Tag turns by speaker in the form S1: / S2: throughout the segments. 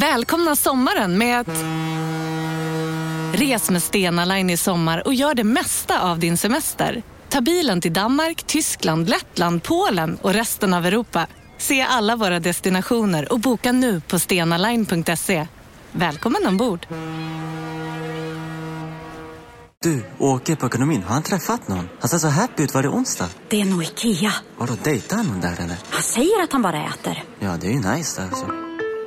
S1: Välkomna sommaren med att... Res med Stena Line i sommar och gör det mesta av din semester. Ta bilen till Danmark, Tyskland, Lettland, Polen och resten av Europa. Se alla våra destinationer och boka nu på stenaline.se. Välkommen ombord!
S2: Du, åker på ekonomin. Har han träffat någon? Han ser så happy ut. Var det onsdag?
S3: Det är nog Ikea.
S2: Har du dejtar han någon där eller?
S3: Han säger att han bara äter.
S2: Ja, det är ju nice där alltså.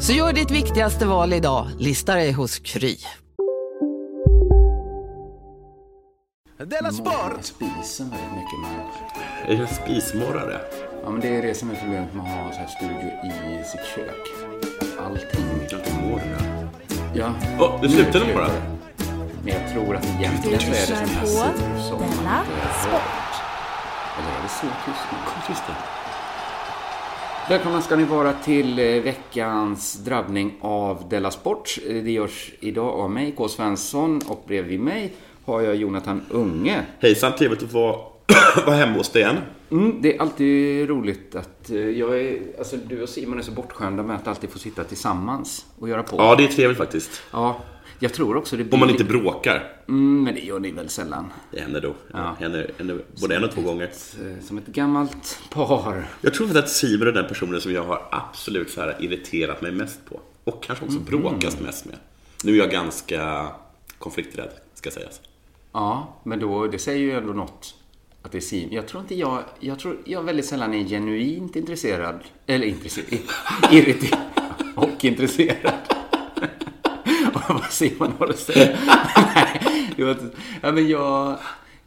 S4: Så gör ditt viktigaste val idag, lista dig hos Kry.
S5: Della Sport!
S6: Spisen väldigt mycket. Man,
S7: Är du en spismorrare?
S6: ja, men det är det som är problemet med att ha så här studio i sitt kök. Allting.
S7: Jag tror mår det.
S6: Ja.
S7: Åh, det
S6: nu
S7: slutade
S6: är det
S7: bara.
S6: slut. Men jag tror att egentligen så är det den här sidan som... Della Sport. Eller är det så tyst nu?
S7: Just det.
S6: Välkomna ska ni vara till eh, veckans drabbning av Della Sport. Eh, Det görs idag av mig, K. Svensson, och bredvid mig har jag Jonathan Unge.
S7: Hejsan, trevligt att vara, vara hemma hos dig igen.
S6: Mm, det är alltid roligt att eh, jag är, alltså, du och Simon är så bortskämda med att alltid få sitta tillsammans och göra på.
S7: Ja, det är trevligt faktiskt.
S6: Ja, jag tror också det blir...
S7: Om man inte
S6: lite-
S7: bråkar.
S6: Mm, men det gör ni väl sällan?
S7: Det händer då.
S6: Ja.
S7: Händer, händer, både en och två gånger.
S6: Eh, Som ett gammalt par.
S7: Jag tror faktiskt att Simon är den personen som jag har absolut så här irriterat mig mest på. Och kanske också
S6: Mm.
S7: bråkat mest med. Nu är jag ganska konflikträdd, ska sägas.
S6: Ja, men då, det säger ju ändå något. Att det är Simon. Jag tror inte jag... Jag tror jag väldigt sällan är genuint intresserad. Eller intresserad. Irriterad. Och intresserad. Och Vad Simon har att säga. Nej, det var inte- ja, men jag...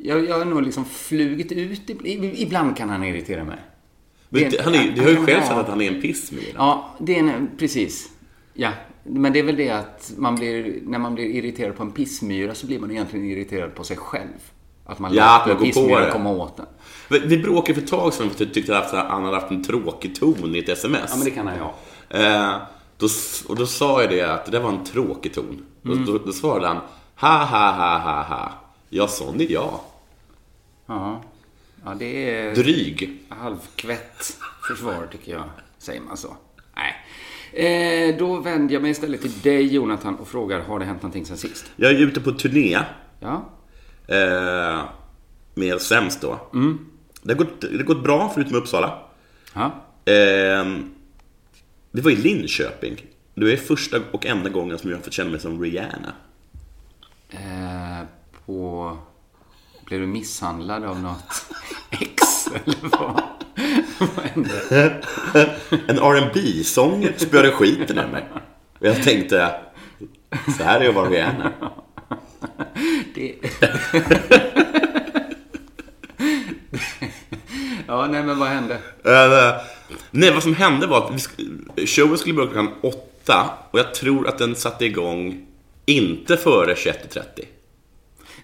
S6: Jag, jag har nog liksom flugit ut. ib- ib- Ibland kan han irritera mig.
S7: Men
S6: Det är-
S7: det, han är, du har ju
S6: han
S7: själv
S6: har-
S7: sagt att han är en pissmil.
S6: Ja, det är en, precis. Ja, men det är väl det att man blir, när man blir irriterad på en pissmyra så blir man egentligen irriterad på sig själv. Att man
S7: Ja, att
S6: låter
S7: man går på
S6: pissmyran
S7: det.
S6: komma åt den.
S7: Vi, vi bråkade för ett tag sedan för att du tyckte att han hade haft en tråkig ton i ett sms.
S6: Ja, men det kan han ju ha.
S7: Eh, då, och då sa jag det att det där var en tråkig ton. Då, då, då svarade han ha ha ha ha ha. Ja, sån är jag.
S6: Ja, ja det är
S7: Dryg.
S6: halvkvätt försvar tycker jag. Säger man så? Nej. Eh, då vänder jag mig istället till dig Jonathan och frågar, har det hänt någonting sen sist?
S7: Jag är ute på turné
S6: Ja,
S7: eh, med Sämst då. Det, har gått, det har gått bra förutom Uppsala.
S6: ja.
S7: Ehm, det var i Linköping. Det är första och enda gången som jag har fått känna mig som Rihanna.
S6: Eh, på... Blev du misshandlad av något ex eller vad? vad hände?
S7: En rb sång spöade skiten ur mig. Och jag tänkte, så här är jag vad vi är nu.
S6: Det... ja, nej men vad hände?
S7: Eh, Nej, vad som hände var att vi sk- showen skulle börja klockan åtta och jag tror att den satte igång inte före 21.30.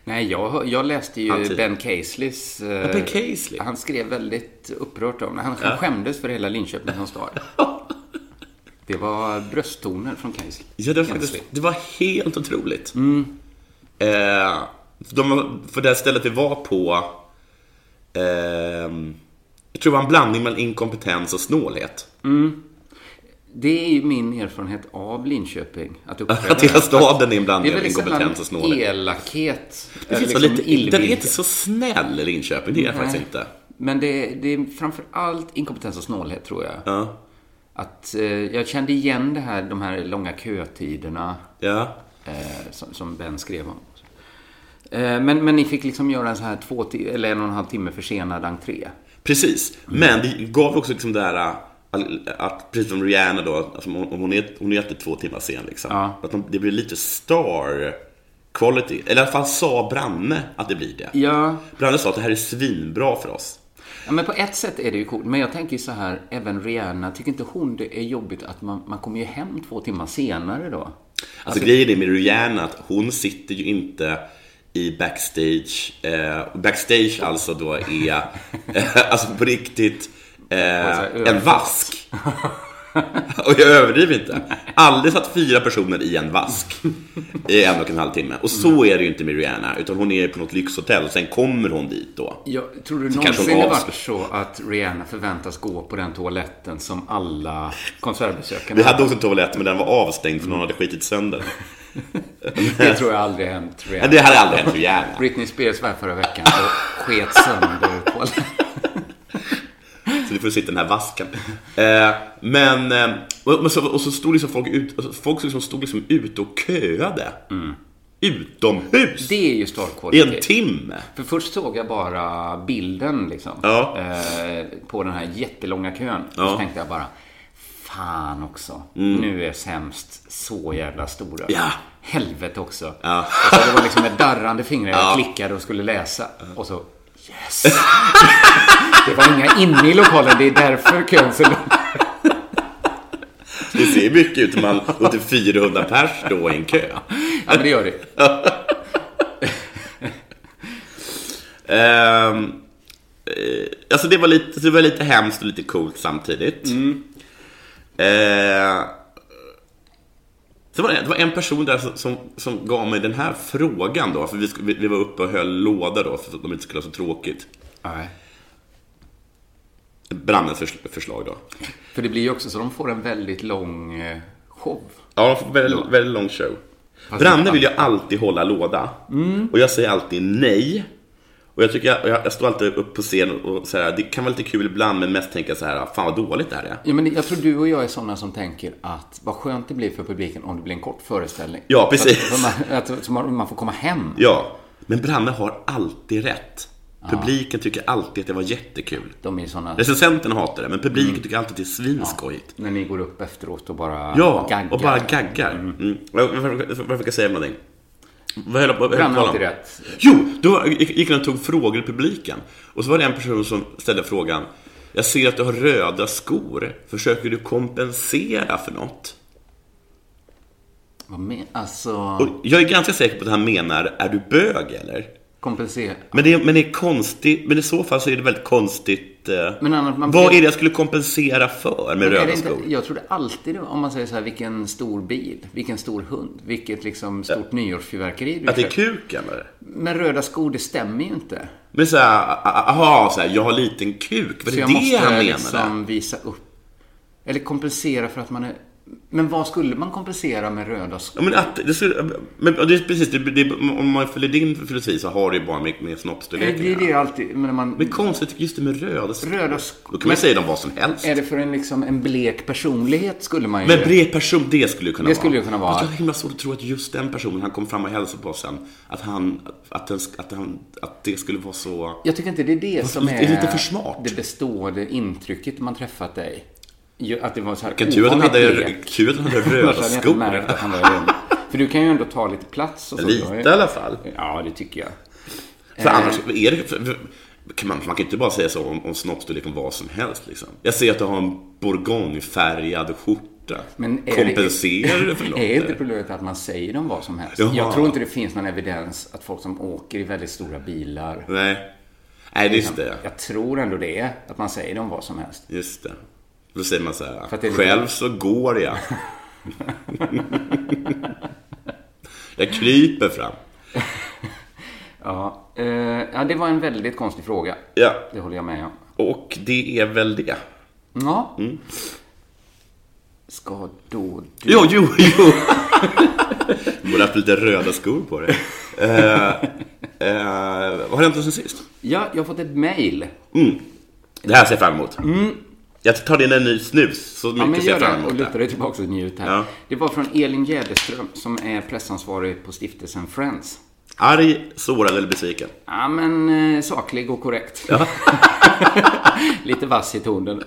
S6: Nej, jag, hör- jag läste ju
S7: Han typ-
S6: Ben Caseleys... eh,
S7: Ja, Ben Casely.
S6: Han skrev väldigt upprört om det. Han han skämdes för hela Linköping som stad. Det var brösttoner från Casely.
S7: Ja, det var, faktiskt,
S6: Casely.
S7: det var helt otroligt. Eh, de, för det här stället vi var på, ehm, jag tror det var en blandning mellan inkompetens och snålhet.
S6: Det är ju min erfarenhet av Linköping. Att, uppträda-
S7: Att hela staden är en blandning
S6: Det är
S7: av
S6: väldigt
S7: inkompetens och
S6: sällan
S7: snålhet.
S6: elakhet.
S7: Det finns
S6: liksom
S7: väl lite, den är
S6: illvilja.
S7: inte så snäll, Linköping. Det är den faktiskt inte.
S6: Men det, det är framför allt inkompetens och snålhet tror jag.
S7: Ja.
S6: Att, eh, jag kände igen det här, de här långa kötiderna
S7: ja.
S6: eh, som, som Ben skrev om. Eh, men, men ni fick liksom göra en så här två, ti- eller en och en halv timme försenad entré.
S7: Precis,
S6: Mm.
S7: men det gav också liksom det här äh, att precis som Rihanna då, alltså hon, hon, är, hon är alltid två timmar sen liksom.
S6: Ja.
S7: Att de, det blir lite star quality, eller i alla fall sa Branne att det blir det.
S6: Ja,
S7: Branne sa att det här är svinbra för oss.
S6: Ja, men på ett sätt är det ju coolt. Men jag tänker ju så här, även Rihanna, tycker inte hon det är jobbigt att man, man kommer ju hem två timmar senare då?
S7: Alltså grejen är med Rihanna att hon sitter ju inte i backstage. Eh, backstage alltså då är, eh, alltså på riktigt, eh, en vask. Och jag överdriver inte. Aldrig satt fyra personer i en vask i en och en halv timme. Och så är det ju inte med Rihanna, utan hon är på något lyxhotell. Sen kommer hon dit då.
S6: Jag tror du
S7: Så kanske
S6: någonsin
S7: hon
S6: det varit
S7: avslöjar.
S6: så att Rihanna förväntas gå på den toaletten som alla konsertbesökare
S7: Vi hade också en toalett, men den var avstängd för någon hade skitit sönder den.
S6: Det tror jag aldrig hänt
S7: Men
S6: Rihanna.
S7: Det hade aldrig hänt Rihanna.
S6: Britney Spears var här förra veckan och sket sönder toaletten.
S7: Så du får sitta i den här vasken. Eh, men, eh, och, och, så, och så stod liksom folk ut, alltså, folk liksom stod liksom ute och köade. Utomhus!
S6: Mm. Det är ju star quality.
S7: I en timme!
S6: För först såg jag bara bilden liksom.
S7: Ja.
S6: Eh, på den här jättelånga kön.
S7: Ja. Mm.
S6: Så tänkte jag bara, fan också. Nu är sämst så jävla stora.
S7: Ja.
S6: Helvete också.
S7: Ja.
S6: Och så det var liksom med darrande fingrar jag klickade och skulle läsa. Och så, yes! det var inga inne i lokalen, det är därför kön så lång.
S7: Det ser mycket ut om man låter 400 pers stå i en kö.
S6: Ja, men det gör det.
S7: Ehm, eh, alltså det var, lite, det var lite hemskt och lite coolt samtidigt. Eh, så var det, det var en person där som, som, som gav mig den här frågan då, för vi, sk- vi, vi var uppe och höll låda då, för att de inte skulle ha så tråkigt.
S6: Nej.
S7: Brandens förs- förslag då.
S6: För det blir ju också så de får en väldigt lång eh, show.
S7: Ja, väldigt, väldigt lång show. Branne vill ju alltid hålla låda. Och jag säger alltid nej. Och jag, tycker jag, och jag, jag står alltid upp på scen och så här, det kan vara lite kul ibland, men mest tänka så här, fan vad dåligt det här är.
S6: Ja, men jag tror du och jag är sådana som tänker att vad skönt det blir för publiken om det blir en kort föreställning.
S7: Ja, precis.
S6: Att, att, man- att, så man, man får komma hem.
S7: Ja, men Branne har alltid rätt. Publiken tycker alltid att det var jättekul.
S6: De är sådana...
S7: Recensenten hatar det, men publiken tycker alltid att det är svinskojigt.
S6: När ni går upp efteråt och bara
S7: Ja,
S6: gaggar.
S7: och bara gaggar. Mm. Varför, varför, varför ska jag säga någonting? Vad höll jag på- vad höll jag
S6: Brann
S7: på att
S6: alltid
S7: tala om?
S6: rätt.
S7: Jo, då gick gick han och tog frågor i publiken. Och så var det en person som ställde frågan. Jag ser att du har röda skor. Försöker du kompensera för något?
S6: Vad men, alltså,
S7: Och jag är ganska säker på att han menar, är du bög eller?
S6: kompensera.
S7: Men det, är- men det är konstigt, men i så fall så är det väldigt konstigt. eh,
S6: Men annars, man
S7: vad
S6: blir-
S7: är det jag skulle kompensera för med
S6: Men är
S7: röda
S6: det inte-
S7: skor?
S6: Jag trodde alltid det var- om man säger så här, vilken stor bil, vilken stor hund, vilket liksom stort nyårsfyrverkeri du
S7: Att det är
S6: kör.
S7: kuken eller?
S6: Men röda skor, det stämmer ju inte.
S7: Men såhär, aha, så här, jag har liten kuk. Var
S6: Så
S7: det
S6: jag
S7: det
S6: måste
S7: han menade?
S6: liksom visa upp. Eller kompensera för att man är... Men vad skulle man kompensera med röda skor?
S7: Ja, men att, det skulle, men och det är precis, det, det, om man följer din filosofi så har det ju bara med, med
S6: Det
S7: snoppstorleken
S6: är
S7: att göra.
S6: det alltid, men när
S7: Men
S6: man...
S7: konstigt, just det med röda skor.
S6: Röda skor.
S7: Då kan man ju säga dem vad som helst.
S6: Är det för en, liksom, en blek personlighet skulle man ju...
S7: Men bred person, det skulle ju kunna
S6: Det
S7: vara.
S6: skulle ju kunna vara.
S7: Fast Jag har himla svårt att tro att just den personen, han kom fram och hälsade på oss sen, att han, att, den, att, han, att det skulle vara så...
S6: Jag tycker inte det är det som
S7: Det
S6: är...
S7: är lite för smart.
S6: Det bestående intrycket när man träffat dig. Ju- Att det var så här
S7: Vilken tur att han
S6: ovanligt
S7: hade,
S6: blek.
S7: tur att han hade
S6: Annars
S7: röda
S6: hade jag inte
S7: skor.
S6: märkt att han var röd. För du kan ju ändå ta lite plats och så.
S7: Lite i alla fall.
S6: Ja, Eh. det tycker jag.
S7: För annars, är det, för, för, kan man, man kan inte bara säga så om, om snoppstorleken vad som helst. Liksom. Jag ser att du har en bourgognefärgad skjorta.
S6: Men är det-
S7: Kompenserar det för något?
S6: Är inte
S7: eller?
S6: problemet att man säger dem vad som helst?
S7: Jaha.
S6: Jag tror inte det finns någon evidens att folk som åker i väldigt stora bilar...
S7: Nej. Nej, just det.
S6: Jag tror ändå det, är att man säger dem vad som helst.
S7: Just det. Då säger man så här,
S6: För att det är lite-
S7: själv så går jag. jag kryper fram.
S6: Ja, eh, ja, det var en väldigt konstig fråga.
S7: Ja,
S6: Det håller jag med om.
S7: och det är väl det.
S6: Ja. Ska då du...
S7: Mm. Jo, jo, jo. Du borde haft lite röda skor på dig. Eh, eh, vad har hänt sen sist?
S6: Ja, jag har fått ett mejl.
S7: Det här ser jag fram emot. Jag tar in en ny snus, så
S6: Mm.
S7: mycket
S6: Ja, men
S7: ser
S6: gör
S7: jag fram
S6: det och
S7: emot
S6: luta
S7: det.
S6: dig tillbaka och njut här.
S7: Ja.
S6: Det var från Elin Jäderström som är pressansvarig på stiftelsen Friends.
S7: Arg, sårad eller besviken?
S6: Ja, men eh, saklig och korrekt. Lite vass i tonen.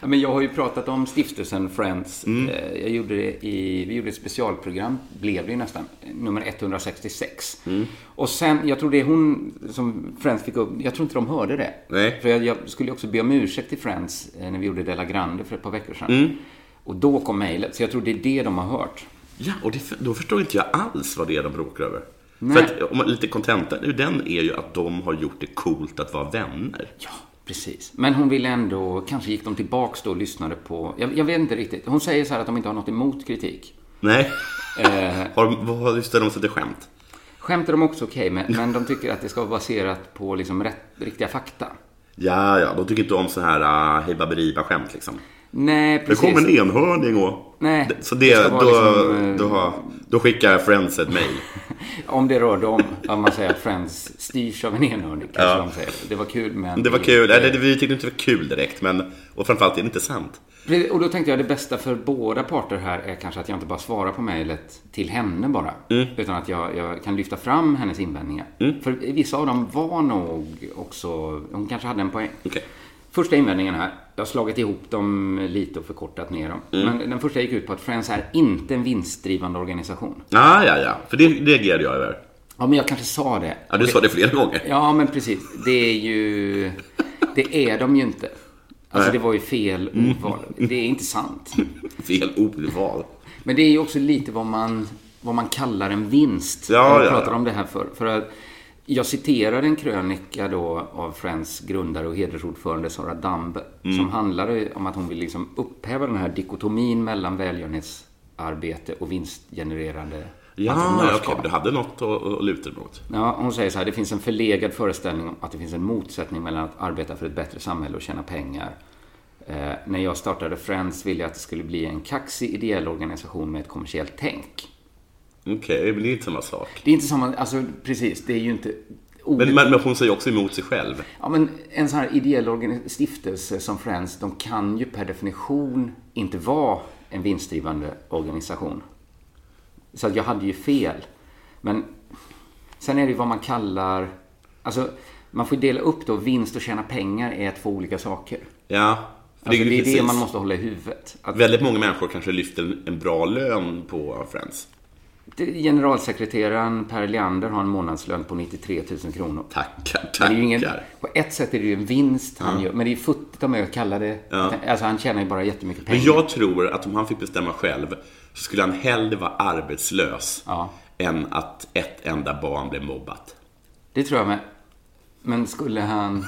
S6: ja, men jag har ju pratat om stiftelsen Friends. Eh, Jag gjorde det i, vi gjorde ett specialprogram, blev det ju nästan, nummer 166. Och sen, jag tror det är hon som Friends fick upp, jag tror inte de hörde det.
S7: Nej.
S6: För jag, jag skulle ju också be om ursäkt till Friends eh, när vi gjorde Della Grande för ett par veckor sedan. Och då kom mejlet, så jag tror det är det de har hört.
S7: Ja, och det, då förstår inte jag alls vad det är de bråkar över.
S6: Nej.
S7: För att, om man, lite kontentan nu den är ju att de har gjort det coolt att vara vänner.
S6: Ja, precis. Men hon ville ändå, kanske gick de tillbaks då och lyssnade på, jag, jag vet inte riktigt. Hon säger så här att de inte har något emot kritik.
S7: Nej.
S6: Eh.
S7: har, de- vad har ställer de sig till skämt?
S6: Skämt är de också okej med, men de tycker att det ska vara baserat på liksom rätt, riktiga fakta.
S7: Ja, ja, de tycker inte om så här uh, hej baberiba skämt liksom.
S6: Nej,
S7: Det
S6: precis.
S7: kom en enhörning och...
S6: Nej,
S7: D- Så
S6: det
S7: det,
S6: ska
S7: då,
S6: vara liksom, eh,
S7: då, har- då skickar Friends ett mejl.
S6: Om det rör dem, om man säger att Friends styrs av en enhörning. kanske de säger. Det var kul, men...
S7: Det var kul. Eller, det, vi tyckte inte det var kul direkt, men... Och framförallt är det inte sant.
S6: Precis, Och då tänkte jag det bästa för båda parter här är kanske att jag inte bara svarar på mejlet till henne bara.
S7: Mm.
S6: Utan att jag, jag kan lyfta fram hennes invändningar. För vissa av dem var nog också, hon kanske hade en poäng.
S7: Okej.
S6: Första invändningen här, jag har slagit ihop dem lite och förkortat ner dem. Men den första gick ut på att Friends är inte en vinstdrivande organisation.
S7: Ah, ja, ja. För det reagerade jag över.
S6: Ja, men jag kanske sa det.
S7: Ja, du sa det flera gånger.
S6: Ja, men precis. Det är ju... Det är de ju inte. Alltså,
S7: Nej.
S6: det var ju fel ordval. Det är inte sant.
S7: Fel ordval.
S6: Men det är ju också lite vad man, vad man kallar en vinst.
S7: Ja,
S6: jag
S7: ja,
S6: pratade
S7: ja.
S6: om det här för, för att Jag citerade en krönika då av Friends grundare och hedersordförande Sara Dambe
S7: Mm.
S6: som handlade om att hon vill liksom upphäva den här dikotomin mellan välgörenhetsarbete och vinstgenererande
S7: Ja, ja,
S6: entreprenörskap.
S7: okej. men Alltså, Du hade något att, att luta dig mot.
S6: Ja, hon säger så här, det finns en förlegad föreställning om att det finns en motsättning mellan att arbeta för ett bättre samhälle och tjäna pengar. Eh, när jag startade Friends ville jag att det skulle bli en kaxig ideell organisation med ett kommersiellt tänk.
S7: Okej, men det är inte samma sak.
S6: Det är inte samma, alltså precis, det är ju inte ordet.
S7: Men, men, men hon säger också emot sig själv.
S6: Ja, men en sån här ideell organi- stiftelse som Friends, de kan ju per definition inte vara en vinstdrivande organisation. Så att jag hade ju fel. Men sen är det ju vad man kallar, alltså man får ju dela upp då, vinst och tjäna pengar är två olika saker.
S7: Ja. för
S6: Alltså,
S7: ju
S6: det är det
S7: precis-
S6: man måste hålla i huvudet. Att
S7: Väldigt många människor kanske lyfter en, en bra lön på Friends.
S6: det- generalsekreteraren Per Leander har en månadslön på 93 000 kronor.
S7: Tackar,
S6: Men
S7: tackar.
S6: det är ju ingen, på ett sätt är det ju en vinst han gör, men det är futtigt av mig att kalla det...
S7: Ja.
S6: Alltså han tjänar ju bara jättemycket pengar.
S7: Men jag tror att om han fick bestämma själv så skulle han hellre vara arbetslös
S6: Ja.
S7: än att ett enda barn blev mobbat.
S6: Det tror jag med. Men skulle han...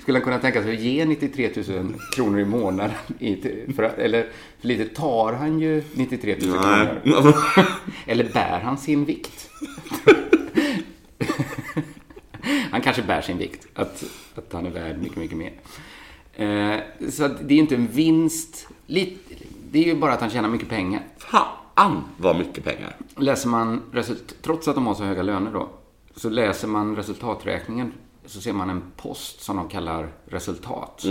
S6: skulle han kunna tänka sig att ge 93 000 kronor i månaden? I, för, att- eller för lite tar han ju 93 000
S7: Nej.
S6: kronor. Eller bär han sin vikt? han kanske bär sin vikt. Att, att han är värd mycket, mycket mer. Eh, så att det är ju inte en vinst. Lite, det är ju bara att han tjänar mycket pengar.
S7: Fan vad mycket pengar.
S6: Läser man, result- trots att de har så höga löner då, så läser man resultaträkningen så ser man en post som de kallar resultat. Det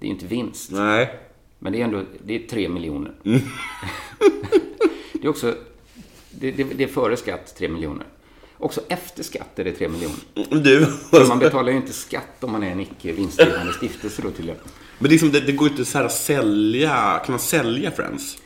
S6: är ju inte vinst,
S7: Nej.
S6: men det är ändå det är 3 miljoner. det är också, det, det, det är före skatt 3 miljoner. Också efter skatt är det 3 miljoner.
S7: Du.
S6: För Man betalar ju inte skatt om man är en icke vinstdrivande stiftelse då tydligen.
S7: Men liksom, det, det går inte så här att sälja. Kan man sälja Friends?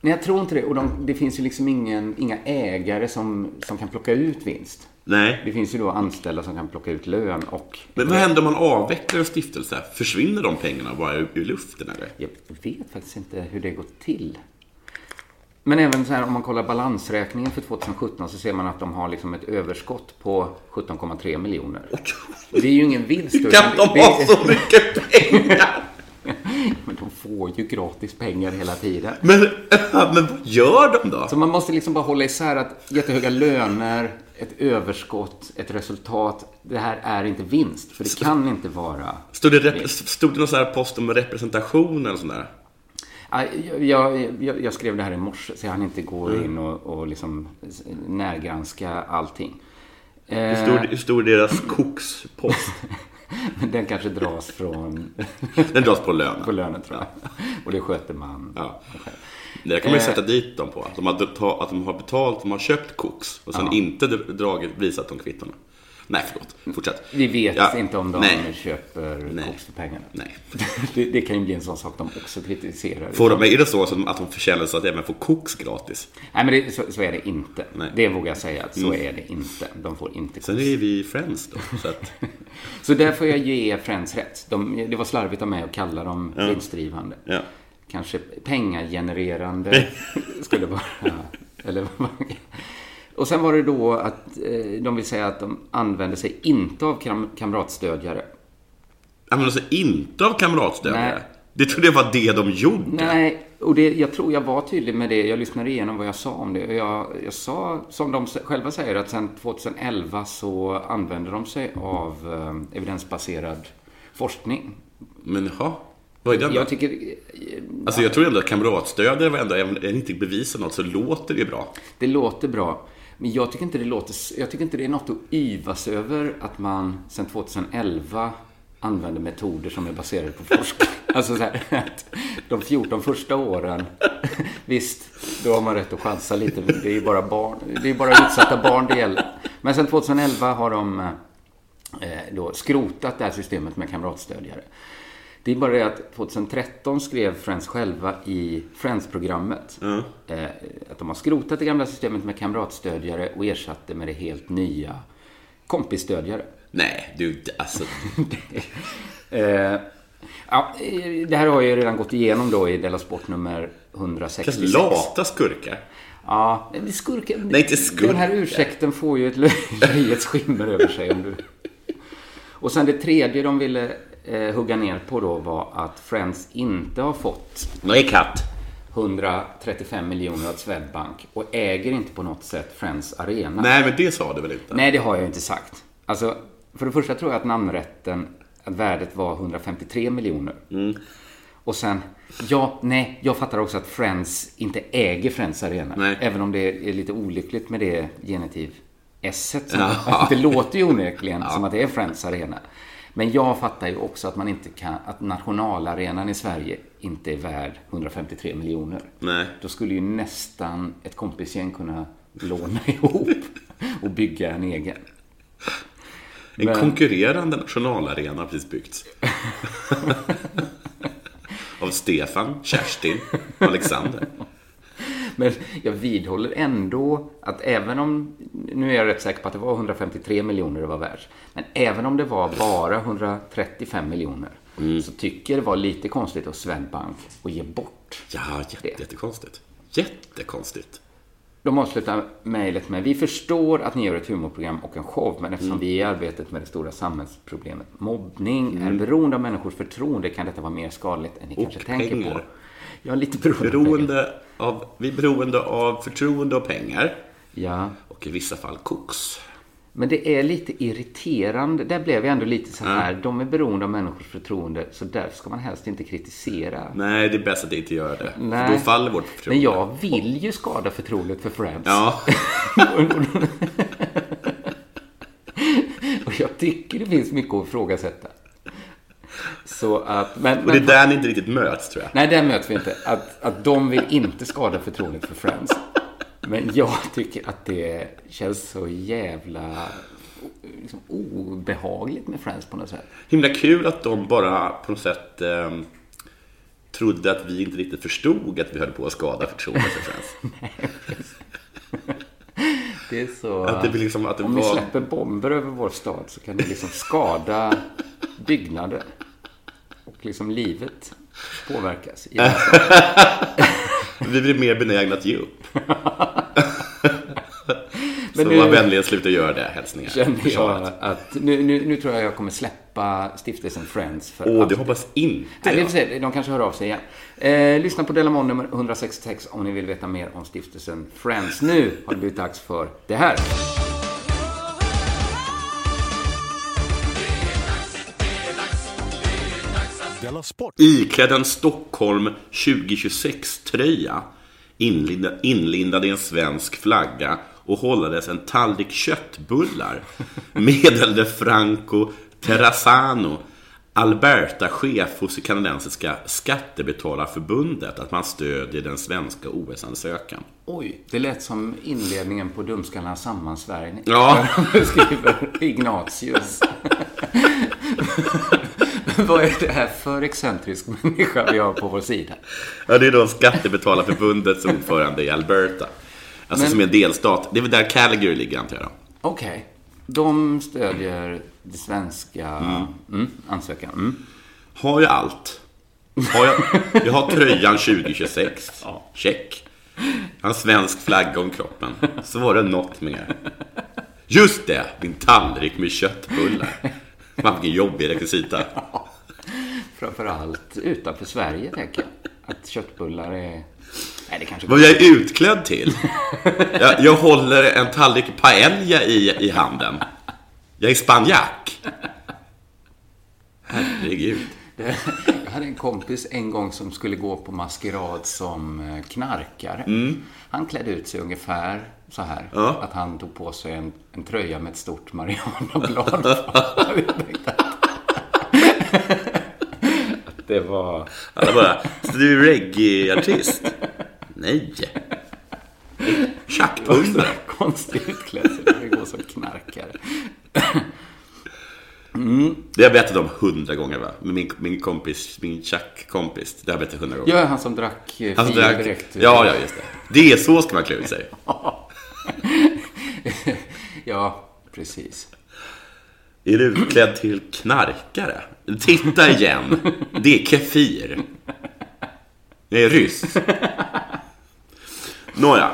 S6: Nej, jag tror inte det. Och de, det finns ju liksom ingen, inga ägare som, som kan plocka ut vinst.
S7: Nej.
S6: Det finns ju då anställda som kan plocka ut lön och...
S7: Men vad händer om man avvecklar en stiftelse? Försvinner de pengarna bara ur, ur luften eller?
S6: Jag vet faktiskt inte hur det går till. Men även så här om man kollar balansräkningen för 2017 så ser man att de har liksom ett överskott på 17,3 miljoner. Det är ju ingen vinst.
S7: Hur kan de
S6: utan det-
S7: ha så mycket pengar?
S6: Men de får ju gratis pengar hela tiden.
S7: Men, men vad gör de då?
S6: Så man måste liksom bara hålla isär att jättehöga löner, ett överskott, ett resultat. Det här är inte vinst, för det kan inte vara
S7: Stod det, rep- stod det någon sån här post om representation eller sån där?
S6: Ja, Ah, Jag, jag- jag, jag skrev det här i morse så jag hann inte gå
S7: Mm.
S6: in och, och liksom närgranska allting.
S7: Hur
S6: Eh,
S7: stor, hur stor är deras kokspost?
S6: men den kanske dras från
S7: Den dras på
S6: på
S7: lönen.
S6: lönen tror jag. Och det sköter man.
S7: Ja. Det kan man ju sätta dit dem på. Att de har, beta- att de har betalt, de har köpt koks och sen inte dragit, visat de kvittona. Nej, förlåt. Fortsätt.
S6: Vi vet
S7: Ja.
S6: inte om de
S7: Nej.
S6: köper
S7: Nej.
S6: koks för pengarna.
S7: Nej.
S6: Det, det kan ju bli en sån sak de också kritiserar.
S7: Får de, är det så som att de förtjänar sig att även få koks gratis?
S6: Nej, men det, så, så är det inte.
S7: Nej. Mm.
S6: Det vågar jag säga. att Så är det inte. De får inte koks.
S7: Sen är vi friends då. Så att,
S6: Så där får jag ge Friends rätt. De, det var slarvigt av mig att kalla dem vinstdrivande.
S7: ja.
S6: kanske pengagenererande skulle vara. Eller vad man- och sen var det då att eh, de vill säga att de använder sig inte av kam kamratstödjare.
S7: Använder sig alltså, inte av kamratstödjare.
S6: Nej.
S7: Det trodde jag var det de gjorde.
S6: Nej, och det, jag tror jag var tydlig med det. Jag lyssnade igenom vad jag sa om det. Och Jag, jag sa, som de s- själva säger, att sedan 2011 så använder de sig av eh, evidensbaserad forskning.
S7: Men jaha, vad är det då?
S6: Jag tycker
S7: Alltså jag tror ändå att kamratstödjare var ändå, även om det inte bevisar något så låter det ju bra.
S6: Det låter bra. Men jag tycker inte det låter... Jag tycker inte det är något att yvas över att man sedan 2011 använder metoder som är baserade på forskning. Alltså så här, att de 14 första åren, visst, då har man rätt att chansa lite. men Det är ju bara barn, det är bara utsatta barn det gäller. Men sedan 2011 har de eh, då skrotat det här systemet med kamratstödjare. Det är bara det att 2013 skrev Friends själva i Friends-programmet
S7: Mm.
S6: eh, att de har skrotat det gamla systemet med kamratstödjare och ersatt det med det helt nya kompisstödjare.
S7: Nej, du, det- alltså.
S6: Eh, ja, eh, det här har jag ju redan gått igenom då i Della Sport nummer
S7: Vilka
S6: 166.
S7: lata skurkar.
S6: Ja, men skurken.
S7: Nej, inte skurken.
S6: Den här ursäkten får ju ett löjets skimmer över sig. Om du... Och sen det tredje de ville eh, hugga ner på då var att Friends inte har fått
S7: Nej, katt.
S6: 135 miljoner av Swedbank och äger inte på något sätt Friends Arena.
S7: Nej, men det sa du väl inte?
S6: Nej, det har jag inte sagt. Alltså, för det första tror jag att namnrätten, att värdet var 153 miljoner.
S7: Mm.
S6: Och sen, ja, nej, jag fattar också att Friends inte äger Friends Arena.
S7: Nej.
S6: Även om det är lite olyckligt med det genitiv s som,
S7: Ja.
S6: Det låter ju onekligen som att det är Friends Arena. Men jag fattar ju också att man inte kan, att nationalarenan i Sverige inte är värd 153 miljoner.
S7: Nej.
S6: Då skulle ju nästan ett kompisgäng kunna låna ihop och bygga en egen.
S7: En
S6: Men-
S7: konkurrerande nationalarena har precis byggts. Av Stefan, Kerstin och Alexander.
S6: Men jag vidhåller ändå att även om, nu är jag rätt säker på att det var 153 miljoner det var värt, men även om det var bara 135 miljoner så tycker jag det var lite konstigt av Swedbank att ge bort.
S7: Ja, jätte, jättekonstigt. Jättekonstigt.
S6: De avslutar mejlet med Vi förstår att ni gör ett humorprogram och en show, men eftersom
S7: Mm.
S6: vi i arbetet med det stora samhällsproblemet mobbning
S7: Mm.
S6: är beroende av människors förtroende kan detta vara mer skadligt än ni kanske tänker på.
S7: pengar.
S6: Ja, lite beroende. av pengar.
S7: Beroende av, vi är beroende av förtroende och pengar.
S6: Ja.
S7: Och i vissa fall koks.
S6: Men det är lite irriterande. Där blev jag ändå lite så här. De är beroende av människors förtroende så därför ska man helst inte kritisera.
S7: Nej, det är bäst att inte göra det.
S6: Nej.
S7: För då faller vårt förtroende.
S6: Men jag vill ju skada förtroendet för Friends.
S7: Ja,
S6: Och jag tycker det finns mycket att ifrågasätta. Så att, men,
S7: och det är
S6: men
S7: där ni inte riktigt möts tror jag.
S6: nej, där möts vi inte. Att, att de vill inte skada förtroendet för Friends. Men jag tycker att det känns så jävla liksom, obehagligt med Friends på något sätt.
S7: Himla kul att de bara på något sätt ehm, trodde att vi inte riktigt förstod att vi höll på att skada förtroendet för Friends.
S6: Det är så...
S7: Att det blir liksom att det
S6: Om ni
S7: var...
S6: släpper bomber över vår stad så kan ni liksom skada byggnader. Och liksom livet påverkas. i den här staden.
S7: Vi blir mer benägna att ge upp.
S6: Men
S7: Så
S6: nu-
S7: var vänliga och sluta göra det. Hälsningar.
S6: Känner jag
S7: Försvaret.
S6: att nu, nu, nu tror jag jag kommer släppa stiftelsen Friends för
S7: Åh, det
S6: alltid.
S7: hoppas inte
S6: Nej, vi får
S7: jag.
S6: se. De kanske hör av sig igen. Eh, lyssna på Delamon nummer 166 om ni vill veta mer om stiftelsen Friends. Nu har det blivit dags för det här.
S5: Della Sport!
S7: Iklädd en Stockholm 2026-tröja inlinda- inlindad i en svensk flagga och hållades en tallrik köttbullar meddelade Franco Terrazzano, Alberta-chef hos det kanadensiska Skattebetalarförbundet, att man stödjer den svenska OS-ansökan.
S6: Oj, det lät som inledningen på Dumskallarnas sammansvärjning.
S7: Ja.
S6: Skriver Ignatius. Vad är det här för excentrisk människa vi har på vår sida?
S7: Ja, det är då Skattebetalarförbundets ordförande i Alberta. Alltså
S6: Men-
S7: som är en delstat. Det är väl där Calgary ligger antar jag. då.
S6: Okej, de stödjer det svenska mm, ansökan. Mm.
S7: Har ju allt. Har jag, jag har tröjan 2026. Check. Jag har en svensk flagga om kroppen. Så var det något mer. Just det! Min tallrik med köttbullar. Man, vilken jobbig rekvisita.
S6: Framförallt utanför Sverige, tänker jag. Att köttbullar är... Nej, det kanske
S7: Vad jag är utklädd till? Jag, jag håller en tallrik paella i, i handen. Jag är spanjack. Herregud.
S6: Jag hade en kompis en gång som skulle gå på maskerad som eh, knarkare. Han klädde ut sig ungefär så här.
S7: Ja.
S6: Att han tog på sig en, en tröja med ett stort marijuanablad. på. Jag tänkte att- att det var...
S7: Alla bara, så du är reggae-artist? Nej.
S6: Det var så
S7: Tjackpundare.
S6: konstig utklädsel att gå som knarkare.
S7: Det har jag berättat om hundra gånger va? Men Min, min kompis, min tjackkompis. Det har jag berättat hundra gånger.
S6: Jag är han som drack eh,
S7: Han
S6: fil
S7: drack-
S6: direkt. ur-
S7: Ja, ja, just det. Det är så ska man klä ut sig.
S6: ja, precis.
S7: Är du utklädd till knarkare? Titta igen. Det är kefir. Jag är ryss. Nåja.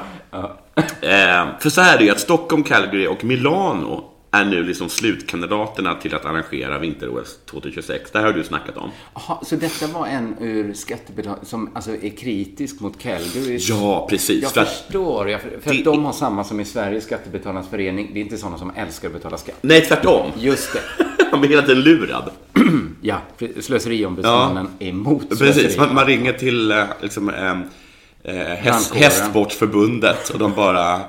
S7: Eh, för så här är det ju att Stockholm, Calgary och Milano är nu liksom slutkandidaterna till att arrangera vinter-OS 2026. Det här har du snackat om.
S6: Jaha, så detta var en ur skattebetal... som alltså är kritisk mot Calgary?
S7: Ja, precis.
S6: Jag
S7: för att,
S6: förstår. Jag, för för
S7: Det-
S6: att de har samma som i Sverige, Skattebetalarnas förening. Det är inte sådana som älskar att betala skatt.
S7: nej, tvärtom.
S6: Just det.
S7: Man blir hela tiden lurad.
S6: Ja, för- Slöseriombudsmannen är emot
S7: Precis,
S6: slöseri.
S7: man, man ringer till eh, liksom, eh, eh, häst,
S6: Brandkåren.
S7: hästsportförbundet och de bara... Eh,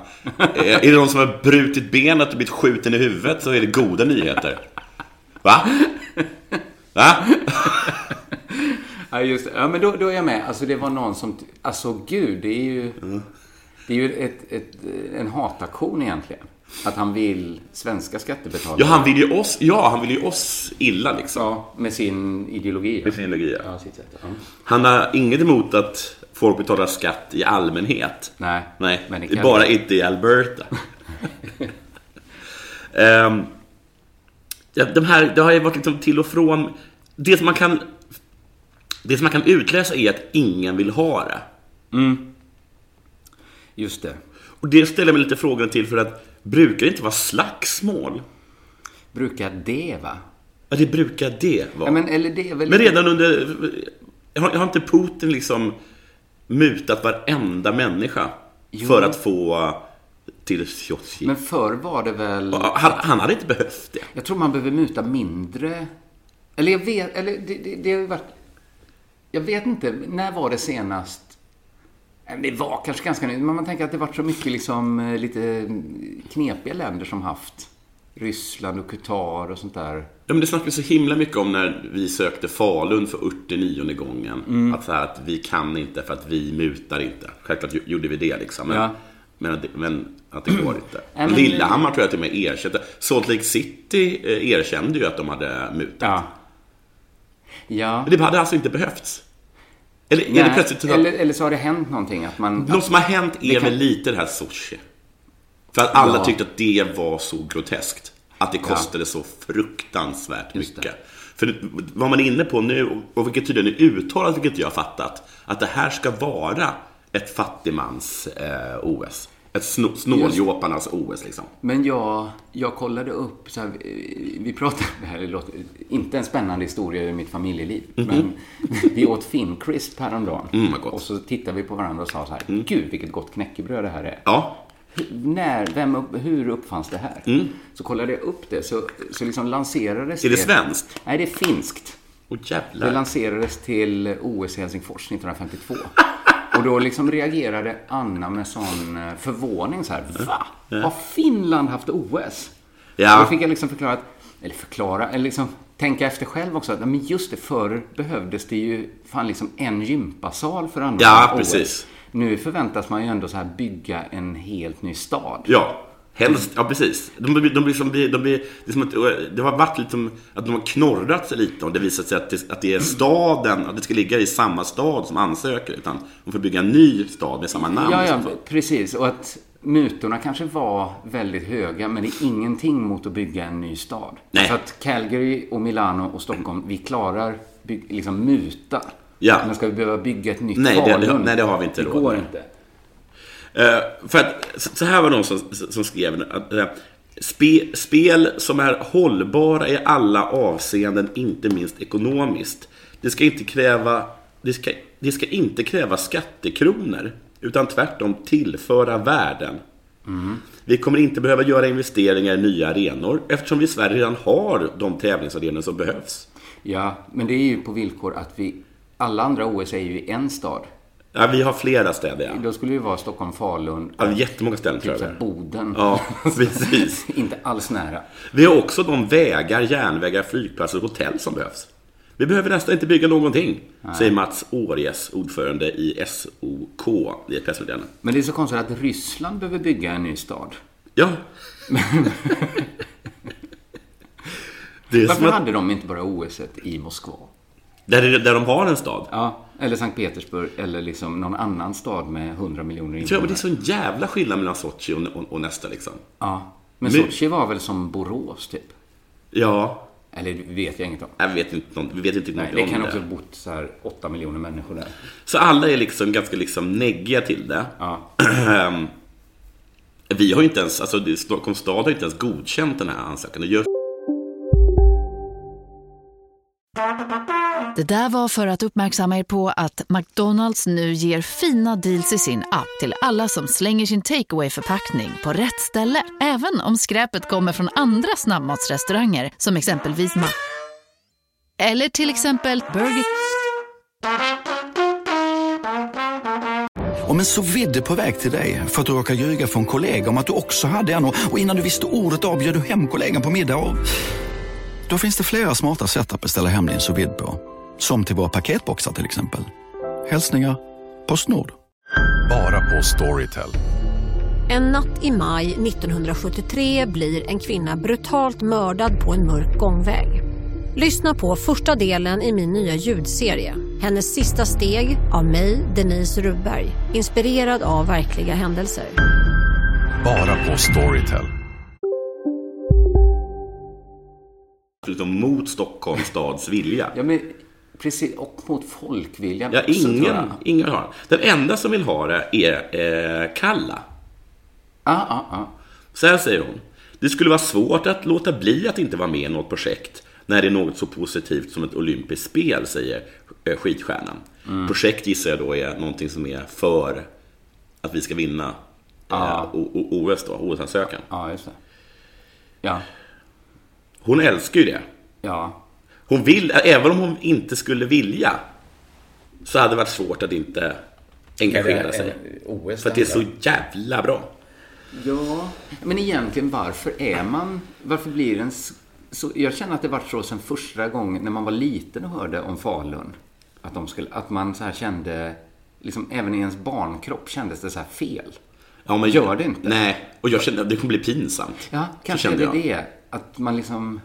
S7: är det någon som har brutit benet och blivit skjuten i huvudet så är det goda nyheter. Va? Va?
S6: Ja, just det. Ja, men då, då är jag med. Alltså, det var någon som... t- Alltså, gud, det är ju...
S7: Mm.
S6: Det är ju ett, ett, en hataktion egentligen. Att han vill svenska skattebetalare.
S7: Ja, han vill ju oss, ja, han vill ju oss illa liksom.
S6: Ja, med sin ideologi.
S7: Med sin ideologi, ja.
S6: Ja, sitt sätt. Ja.
S7: Han har inget emot att folk betalar skatt i allmänhet.
S6: Nej,
S7: Nej,
S6: men det
S7: det är
S6: kan
S7: bara
S6: vi.
S7: inte i Alberta. Ehm, ja, de här, det har ju varit liksom till och från. Det som man kan, det som man kan utläsa är att ingen vill ha det.
S6: Just det.
S7: Och det ställer jag mig lite frågan till för att brukar det inte vara slagsmål?
S6: Brukar det, va?
S7: Ja, det brukar det vara.
S6: Ja, men, eller det är väl...
S7: Men redan under... Har, har inte Putin liksom mutat varenda människa för att få till Sjotjij?
S6: men förr var det väl...
S7: Han, han hade inte behövt det.
S6: Jag tror man behöver muta mindre. Eller jag vet, eller det, det, det har ju varit... Jag vet inte, när var det senast? Nej, men Det var kanske ganska nytt, men man tänker att det varit så mycket liksom eh, lite mm, knepiga länder som haft. Ryssland och Qatar och sånt där.
S7: Ja, men det snackades så himla mycket om när vi sökte Falun för 89 gången.
S6: Mm.
S7: Att, så här, att vi kan inte för att vi mutar inte. Självklart ju- gjorde vi det liksom. Men,
S6: Ja.
S7: men, att det- men att det går inte.
S6: men-
S7: Lillehammar tror jag till och med erkände. Salt Lake City eh, erkände ju att de hade mutat.
S6: Ja.
S7: Men det hade alltså inte behövts. Eller är det
S6: Nej,
S7: plötsligt så att...
S6: eller, eller så har det hänt någonting att man...
S7: Något som har hänt är
S6: kan-
S7: väl lite det här sushi. För att alla
S6: Ja.
S7: tyckte att det var så groteskt. Att det kostade så fruktansvärt mycket. För vad man är inne på nu, och vilket tydligen är uttalat, vilket jag har fattat, att det här ska vara ett fattigmans-OS. ett sno- snåljåparnas OS liksom.
S6: Men jag, jag kollade upp, så här, vi- vi pratade, det här låter, inte en spännande historia ur mitt familjeliv, men vi åt Finncrisp häromdagen.
S7: Mhm. Mm, vad gott. Mm.
S6: och så tittade vi på varandra och sa så här, gud vilket gott knäckebröd det här är.
S7: Ja,
S6: Hur- När, vem, upp- hur uppfanns det här? Så kollade jag upp det, så, så liksom lanserades
S7: Mm. Är det svenskt?
S6: Nej, det är finskt.
S7: och
S6: Det
S7: jävlar.
S6: lanserades till OS i Helsingfors 1952. Och då liksom reagerade Anna med sån eh, förvåning så här. Va? Har Finland haft OS?
S7: Ja.
S6: Då fick jag liksom förklara, att, eller förklara, eller liksom tänka efter själv också. Att, nej, men just det, förr behövdes det ju fan liksom en gympasal för att anordna
S7: Ja,
S6: OS.
S7: precis.
S6: Nu förväntas man ju ändå så här bygga en helt ny stad.
S7: Ja, helst. Ja, precis. De, blir- de blir som, de blir, det, är som att, det har varit lite som att de har knorrat sig lite och det visar sig att det, att det är staden, att det ska ligga i samma stad som ansöker. Utan de får bygga en ny stad med samma namn.
S6: Ja, ja,
S7: liksom.
S6: precis. Och att mutorna kanske var väldigt höga, men det är ingenting mot att bygga en ny stad.
S7: Nej.
S6: Så att Calgary och Milano och Stockholm, vi klarar byg- liksom muta.
S7: Ja.
S6: Men ska vi behöva bygga ett nytt
S7: Nej, det-
S6: Falun?
S7: nej, det har vi inte
S6: Det
S7: råd
S6: går
S7: med.
S6: inte.
S7: Eh, för att, så så här var någon som, som skrev att eh, spe, spel som är hållbara i alla avseenden, inte minst ekonomiskt. Det ska inte kräva, det ska, det ska inte kräva skattekronor, utan tvärtom tillföra värden.
S6: Mm.
S7: Vi kommer inte behöva göra investeringar i nya arenor eftersom vi i Sverige redan har de tävlingsarenor som behövs.
S6: Ja, men det är ju på villkor att vi... Alla andra OS är ju i en stad.
S7: Ja, vi har flera städer. Ja.
S6: Då skulle det ju vara Stockholm, Falun,
S7: Ja, jättemånga ställen tror
S6: typ
S7: jag.
S6: så
S7: det
S6: här
S7: är.
S6: Boden.
S7: Ja, precis.
S6: inte alls nära.
S7: Vi har också de vägar, järnvägar, flygplatser och hotell som behövs. Vi behöver nästan inte bygga någonting, säger Mats Årjes, ordförande i SOK, i ett pressmeddelande.
S6: Men det är så konstigt att Ryssland behöver bygga en ny stad.
S7: Ja. det är som
S6: Varför
S7: att,
S6: hade de inte bara OS i Moskva?
S7: där, är- där de har en stad.
S6: Ja, eller Sankt Petersburg eller liksom någon annan stad med 100 miljoner
S7: Ja, men
S6: invånare.
S7: det är så en jävla skillnad mellan Sochi och, och, och nästa liksom.
S6: Ja, men
S7: Men-
S6: Sochi var väl som Borås typ?
S7: Ja,
S6: Eller det vet jag inget om.
S7: jag vet inte, någon- vi vet inte
S6: Nej,
S7: någonting
S6: det
S7: om
S6: kan också ha bott så här 8 miljoner människor där.
S7: Så alla är liksom ganska liksom neggiga till det.
S6: Ja.
S7: Ehm, Vi har ju inte ens, alltså det- Stockholms stad har ju inte ens godkänt den här ansökan. Det gör
S8: Det där var för att uppmärksamma er på att McDonalds nu ger fina deals i sin app till alla som slänger sin takeaway förpackning på rätt ställe. Även om skräpet kommer från andra snabbmatsrestauranger som exempelvis Ma... Eller till exempel Burger...
S5: Om en så vidde på väg till dig för att du råkar ljuga från kollega om att du också hade en och och innan du visste ordet av bjöd du hem kollegan på middag och... Då finns det flera smarta sätt att beställa hem din sous vide på. Som till våra paketboxar till exempel. Hälsningar Postnord.
S9: Bara på Storytel.
S10: En natt i maj 1973 blir en kvinna brutalt mördad på en mörk gångväg. Lyssna på första delen i min nya ljudserie. Hennes sista steg av mig, Denise Rubberg. Inspirerad av verkliga händelser.
S9: Bara på Storytel.
S7: förutom mot Stockholms stads vilja.
S6: Ja, men precis. Och mot folkviljan
S7: Ja,
S6: också, tror
S7: ingen,
S6: jag.
S7: ingen har den. Den enda som vill ha det är eh, Kalla.
S6: Ja, ja, ja.
S7: Så här säger hon. Det skulle vara svårt att låta bli att inte vara med i något projekt när det är något så positivt som ett olympiskt spel, säger eh, skidstjärnan.
S6: Mm.
S7: Projekt gissar jag då är någonting som är för att vi ska vinna eh, O- O- OS då, OS-ansökan.
S6: Ja, just det. Ja,
S7: Hon älskar ju det.
S6: ja.
S7: Hon vill, även om hon inte skulle vilja, så hade det varit svårt att inte engagera sig.
S6: OS
S7: För att det är så jävla bra.
S6: Ja, men egentligen varför är man... Varför blir en... s- Så, jag känner att det varit så sen första gången när man var liten och hörde om Falun. Att, de skulle, att man så här kände... Liksom, även i ens barnkropp kändes det så här fel.
S7: Ja, men
S6: Gör det inte.
S7: Nej, och jag kände att det kommer bli pinsamt.
S6: Ja,
S7: Så
S6: kanske är
S7: kände
S6: det
S7: jag.
S6: det. Att man liksom...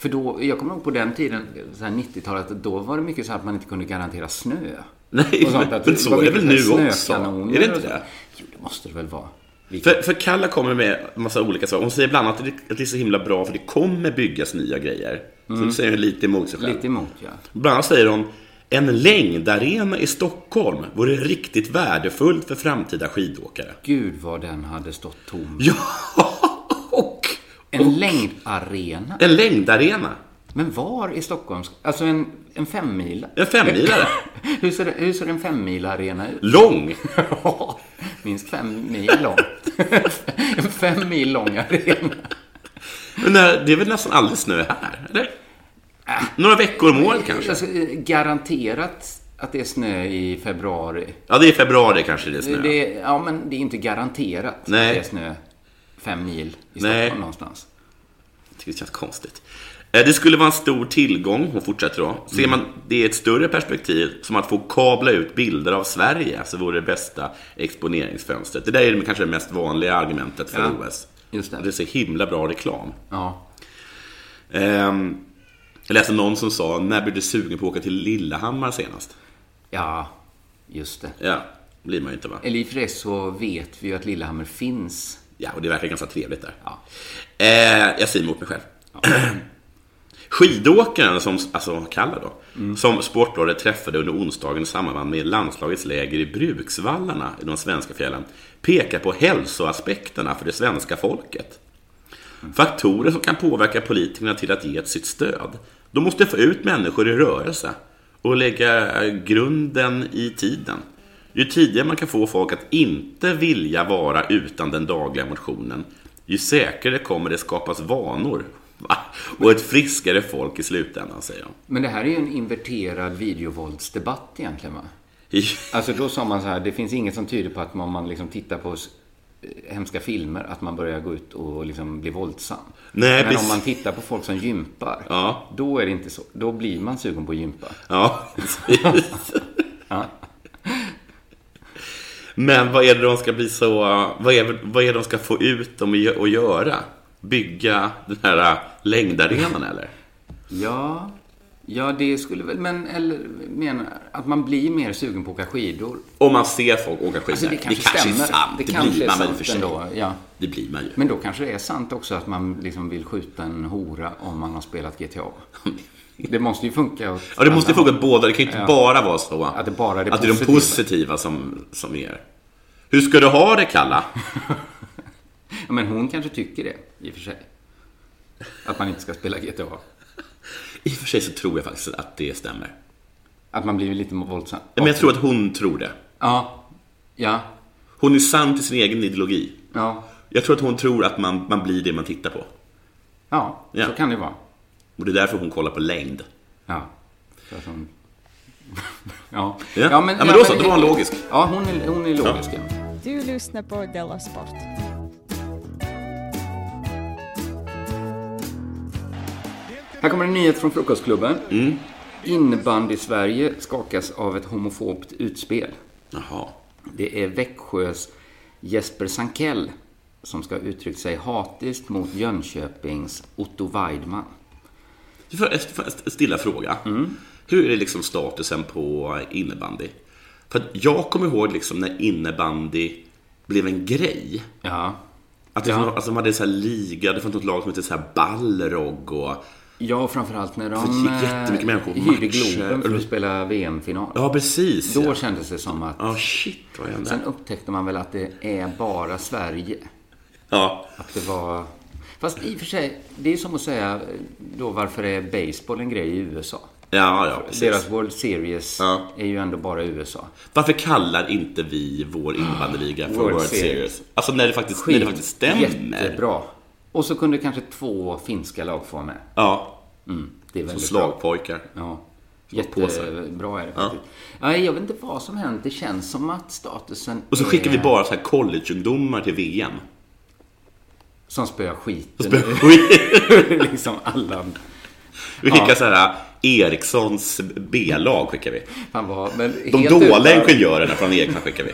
S6: För då, jag kommer ihåg på den tiden, så här 90-talet, då var det mycket så här att man inte kunde garantera snö.
S7: Nej,
S6: Och sånt,
S7: men-
S6: att
S7: men
S6: det
S7: så
S6: var
S7: är det
S6: mycket
S7: väl
S6: så här
S7: nu också?
S6: snökanoner
S7: Är det inte
S6: och så.
S7: det?
S6: Jo, det måste det väl vara. Vi-
S7: För, för Kalla kommer med massa olika saker. Hon säger bland annat att det- att det är så himla bra för det kommer byggas nya grejer. Så det säger hon lite emot sig själv.
S6: Mm. Lite emot, ja.
S7: Bland annat säger hon en längdarena i Stockholm vore riktigt värdefullt för framtida skidåkare.
S6: Gud vad den hade stått tom.
S7: Ja, och
S6: En längdarena?
S7: en längdarena.
S6: Men var i Stockholm? ska- Alltså en, en femmila?
S7: En femmilare.
S6: hur, ser, hur ser en femmilarena ut?
S7: Lång.
S6: Minst fem mil lång. en fem mil lång arena.
S7: Men eh, det är väl nästan aldrig snö här, eller? Några veckor om året kanske?
S6: Alltså, eh, garanterat att det är snö i februari.
S7: Ja, det är i februari kanske det är snö.
S6: Det, ja, men det är inte garanterat
S7: Nej.
S6: att det är snö fem mil i
S7: Nej.
S6: Stockholm någonstans.
S7: Jag tycker det känns konstigt. Eh, Det skulle vara en stor tillgång, hon fortsätter då. Ser man det i ett större perspektiv, som att få kabla ut bilder av Sverige, så vore det bästa exponeringsfönstret. Det där är kanske det mest vanliga argumentet för
S6: Ja,
S7: OS.
S6: just det.
S7: det är så himla bra reklam.
S6: Ja.
S7: Ehm, jag läste någon som sa, när blev du sugen på att åka till Lillehammar senast?
S6: ja, just det.
S7: Ja, blir man ju inte va?
S6: Eller i och för sig så vet vi ju att Lillehammer finns.
S7: Ja, och det verkar ganska trevligt där.
S6: Ja.
S7: Eh, jag säger emot mig själv. Skidåkaren, som, alltså Kalle då, som Sportbladet träffade under onsdagen i samband med landslagets läger i Bruksvallarna i de svenska fjällen, pekar på hälsoaspekterna för det svenska folket. Faktorer som kan påverka politikerna till att ge ett sitt stöd. De måste få ut människor i rörelse och lägga eh, grunden i tiden. Ju tidigare man kan få folk att inte vilja vara utan den dagliga motionen, ju säkrare kommer det skapas vanor va? och ett friskare folk i slutändan, säger de.
S6: Men det här är ju en inverterad videovåldsdebatt egentligen va?
S7: I-
S6: Alltså då sa man så här, det finns inget som tyder på att man, man liksom tittar på s- eh, hemska filmer, att man börjar gå ut och liksom bli våldsam.
S7: Nej,
S6: Men
S7: precis.
S6: om man tittar på folk som gympar,
S7: Ja.
S6: då är det inte så. Då blir man sugen på att gympa.
S7: Ja, precis. Men vad är det de ska bli så... Vad är, vad är det de ska få ut dem i- att göra? Bygga den här längdarenan eller?
S6: Ja, ja det skulle väl, men eller menar att man blir mer sugen på att åka skidor.
S7: Om man ser folk åka skidor.
S6: Alltså det kanske, stämmer.
S7: är sant. Det,
S6: kanske
S7: blir
S6: är
S7: man väl
S6: sant
S7: för sig.
S6: ändå, ja.
S7: Det blir man ju.
S6: Men då kanske det är sant också att man liksom vill skjuta en hora om man har spelat GTA. Det måste ju funka. åt
S7: Ja, det måste ju
S6: alla
S7: funka båda. Det kan ju inte
S6: Ja.
S7: bara vara så
S6: Att det bara är det
S7: att det är de
S6: positiva.
S7: positiva som, som är. Hur ska du ha det, Kalla?
S6: Ja, men hon kanske tycker det, i och för sig. Att man inte ska spela GTA.
S7: I och för sig så tror jag faktiskt att det stämmer.
S6: Att man blir lite våldsam.
S7: Men jag tror att hon tror det.
S6: Ja, ja,
S7: Hon är sann till sin egen ideologi.
S6: ja,
S7: Jag tror att hon tror att man, man blir det man tittar på.
S6: ja,
S7: Ja.
S6: så kan det vara.
S7: Och det är därför hon kollar på längd.
S6: Ja, så att hon... ja.
S7: Ja. Ja, men då så, då var hon logisk.
S6: Ja, hon är, hon är logisk. Ja.
S11: Du lyssnar på Della Sport.
S6: Här kommer en nyhet från Frukostklubben.
S7: Mm.
S6: Innebandy-Sverige skakas av ett homofobt utspel.
S7: Jaha.
S6: Det är Växjös Jesper Sankell som ska ha uttryckt sig hatiskt mot Jönköpings Otto Weidman.
S7: För för- för- en stilla fråga.
S6: Mm.
S7: Hur är det liksom statusen på innebandy? För att jag kommer ihåg liksom när innebandy blev en grej.
S6: Ja.
S7: Att det fanns- alltså, de hade så här liga, det fanns något lag som hette så här Balrog och...
S6: Ja, och framförallt när
S7: För det
S6: de
S7: gick jättemycket
S6: eh,
S7: människor på
S6: hyrde
S7: matcher.
S6: Globen för att spela VM-final.
S7: Ja, precis.
S6: Då
S7: ja.
S6: kändes det som att...
S7: Ja, shit vad hände?
S6: Sen upptäckte man väl att det är bara Sverige.
S7: Ja,
S6: Att det var... Fast i och för sig, det är som att säga eh, då varför är baseball en grej i USA?
S7: ja, ja precis.
S6: Deras World Series
S7: Ja.
S6: är ju ändå bara USA.
S7: Varför kallar inte vi vår innebandyliga för World,
S6: World
S7: Series?
S6: Series.
S7: Alltså när det faktiskt, när det faktiskt stämmer.
S6: Jättebra. Och så kunde kanske två finska lag få vara med.
S7: Ja,
S6: Mm, det är
S7: som
S6: väldigt bra.
S7: slagpojkar.
S6: Ja.
S7: Påsar.
S6: Jättebra är det faktiskt. Nej, jag vet inte vad som hänt. Det känns som att statusen
S7: Och så
S6: är...
S7: skickar vi bara så här collegeungdomar till VM.
S6: Som spöar skiten
S7: Spö- Oj.
S6: ur liksom alla.
S7: Vi skickar så här Erikssons B-lag skickar vi.
S6: Fan vad... Men
S7: De
S6: helt
S7: dåliga
S6: utan-
S7: ingenjörerna från Eriksson skickar vi.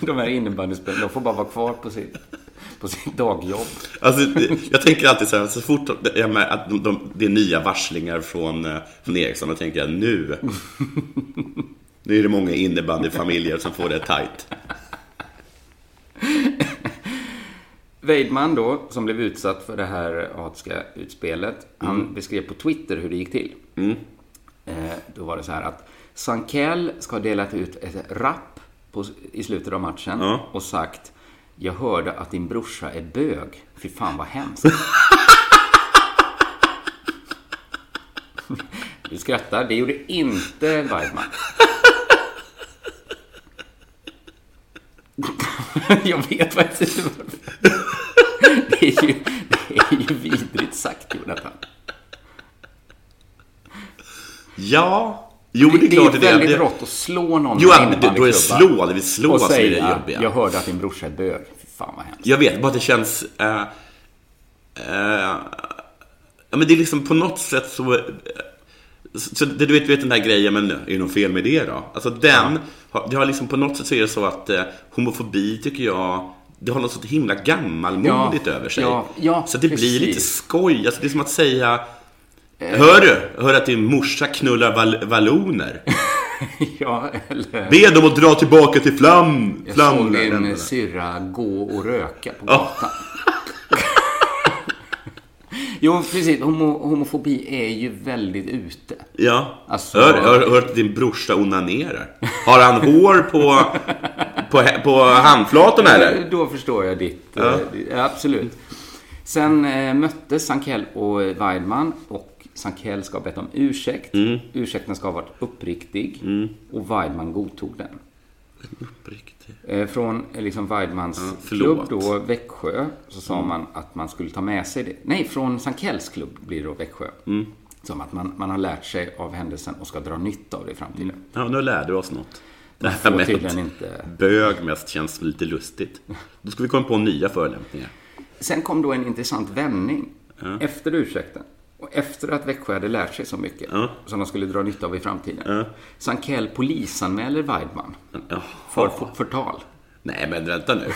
S6: De här innebandyspelarna, de får bara vara kvar på sitt, på sitt dagjobb.
S7: Alltså, det- jag tänker alltid så här, så fort jag mär- att de, de, det är nya varslingar från, eh, från Eriksson, då tänker jag nu. Nu är det många innebandyfamiljer som får det tajt.
S6: Weidman då, som blev utsatt för det här hatiska utspelet, han beskrev på Twitter hur det gick till. Eh, då var det så här att Sankell ska ha delat ut ett rapp på, i slutet av matchen
S7: Ja.
S6: och sagt Jag hörde att din brorsa är bög. Fy fan vad hemskt. du skrattar. Det gjorde inte Weidman. Jag vet faktiskt inte varför. Det är ju, det är ju vidrigt sagt, Jonathan.
S7: Ja, jo det,
S6: Det,
S7: är klart
S6: är
S7: det är
S6: väldigt
S7: det.
S6: rått att slå någon
S7: Jo,
S6: med
S7: att- då är
S6: innebandyklubba
S7: det slå, det vill slå
S6: och
S7: som är det
S6: säga,
S7: jobbiga.
S6: Jag hörde att din brorsa är bög. Fy fan vad hemskt.
S7: Jag vet, bara att det känns... Eh, eh, ja, men det är liksom på något sätt så... eh, så så det, du, vet, du vet den där grejen, men eh, är det något fel med det då? Alltså den, har, det har liksom på något sätt så är det så att eh, homofobi tycker jag, det har något så himla gammalmodigt
S6: Ja,
S7: över sig.
S6: ja, ja,
S7: så att det
S6: precis. Eh.
S7: blir lite skoj, alltså det är som att säga Hör du? Hör att din morsa knullar val- valloner?
S6: Ja, eller...
S7: Be dem att dra tillbaka till flam...
S6: Jag
S7: flam-
S6: såg
S7: länderna."
S6: en eh, syrra gå och röka på gatan. Jo, precis. Homo, homofobi är ju väldigt ute.
S7: Ja.
S6: Alltså-
S7: Hör, hör, hör att din brorsa onanerar. Har han hår på, på, på handflatorna eller?
S6: Då förstår jag ditt.
S7: Ja.
S6: eh, ditt- Absolut. Sen eh, möttes Sankell och Weidman och Sankell ska ha bett om ursäkt.
S7: Mm.
S6: Ursäkten ska ha varit uppriktig och Weidman godtog den.
S7: Uppriktigt.
S6: Eh, Från eh, liksom Weidmans klubb
S7: förlåt. Mm.
S6: då, Växjö, så sa man att man skulle ta med sig det. Nej, från Sankells klubb blir det då Växjö.
S7: Mm.
S6: Som att man, man har lärt sig av händelsen och ska dra nytta av det i framtiden.
S7: Ja, nu lärde du oss något. Det
S6: Man
S7: här
S6: får
S7: med
S6: tydligen
S7: att
S6: inte-
S7: bög mest känns lite lustigt. Då ska vi komma på nya förolämpningar.
S6: Sen kom då en intressant vändning efter ursäkten. Och efter att Växjö hade lärt sig så mycket som de skulle dra nytta av i framtiden. Sankell polisanmäler Weidman
S7: Ja.
S6: för f- förtal.
S7: Nej, men vänta nu.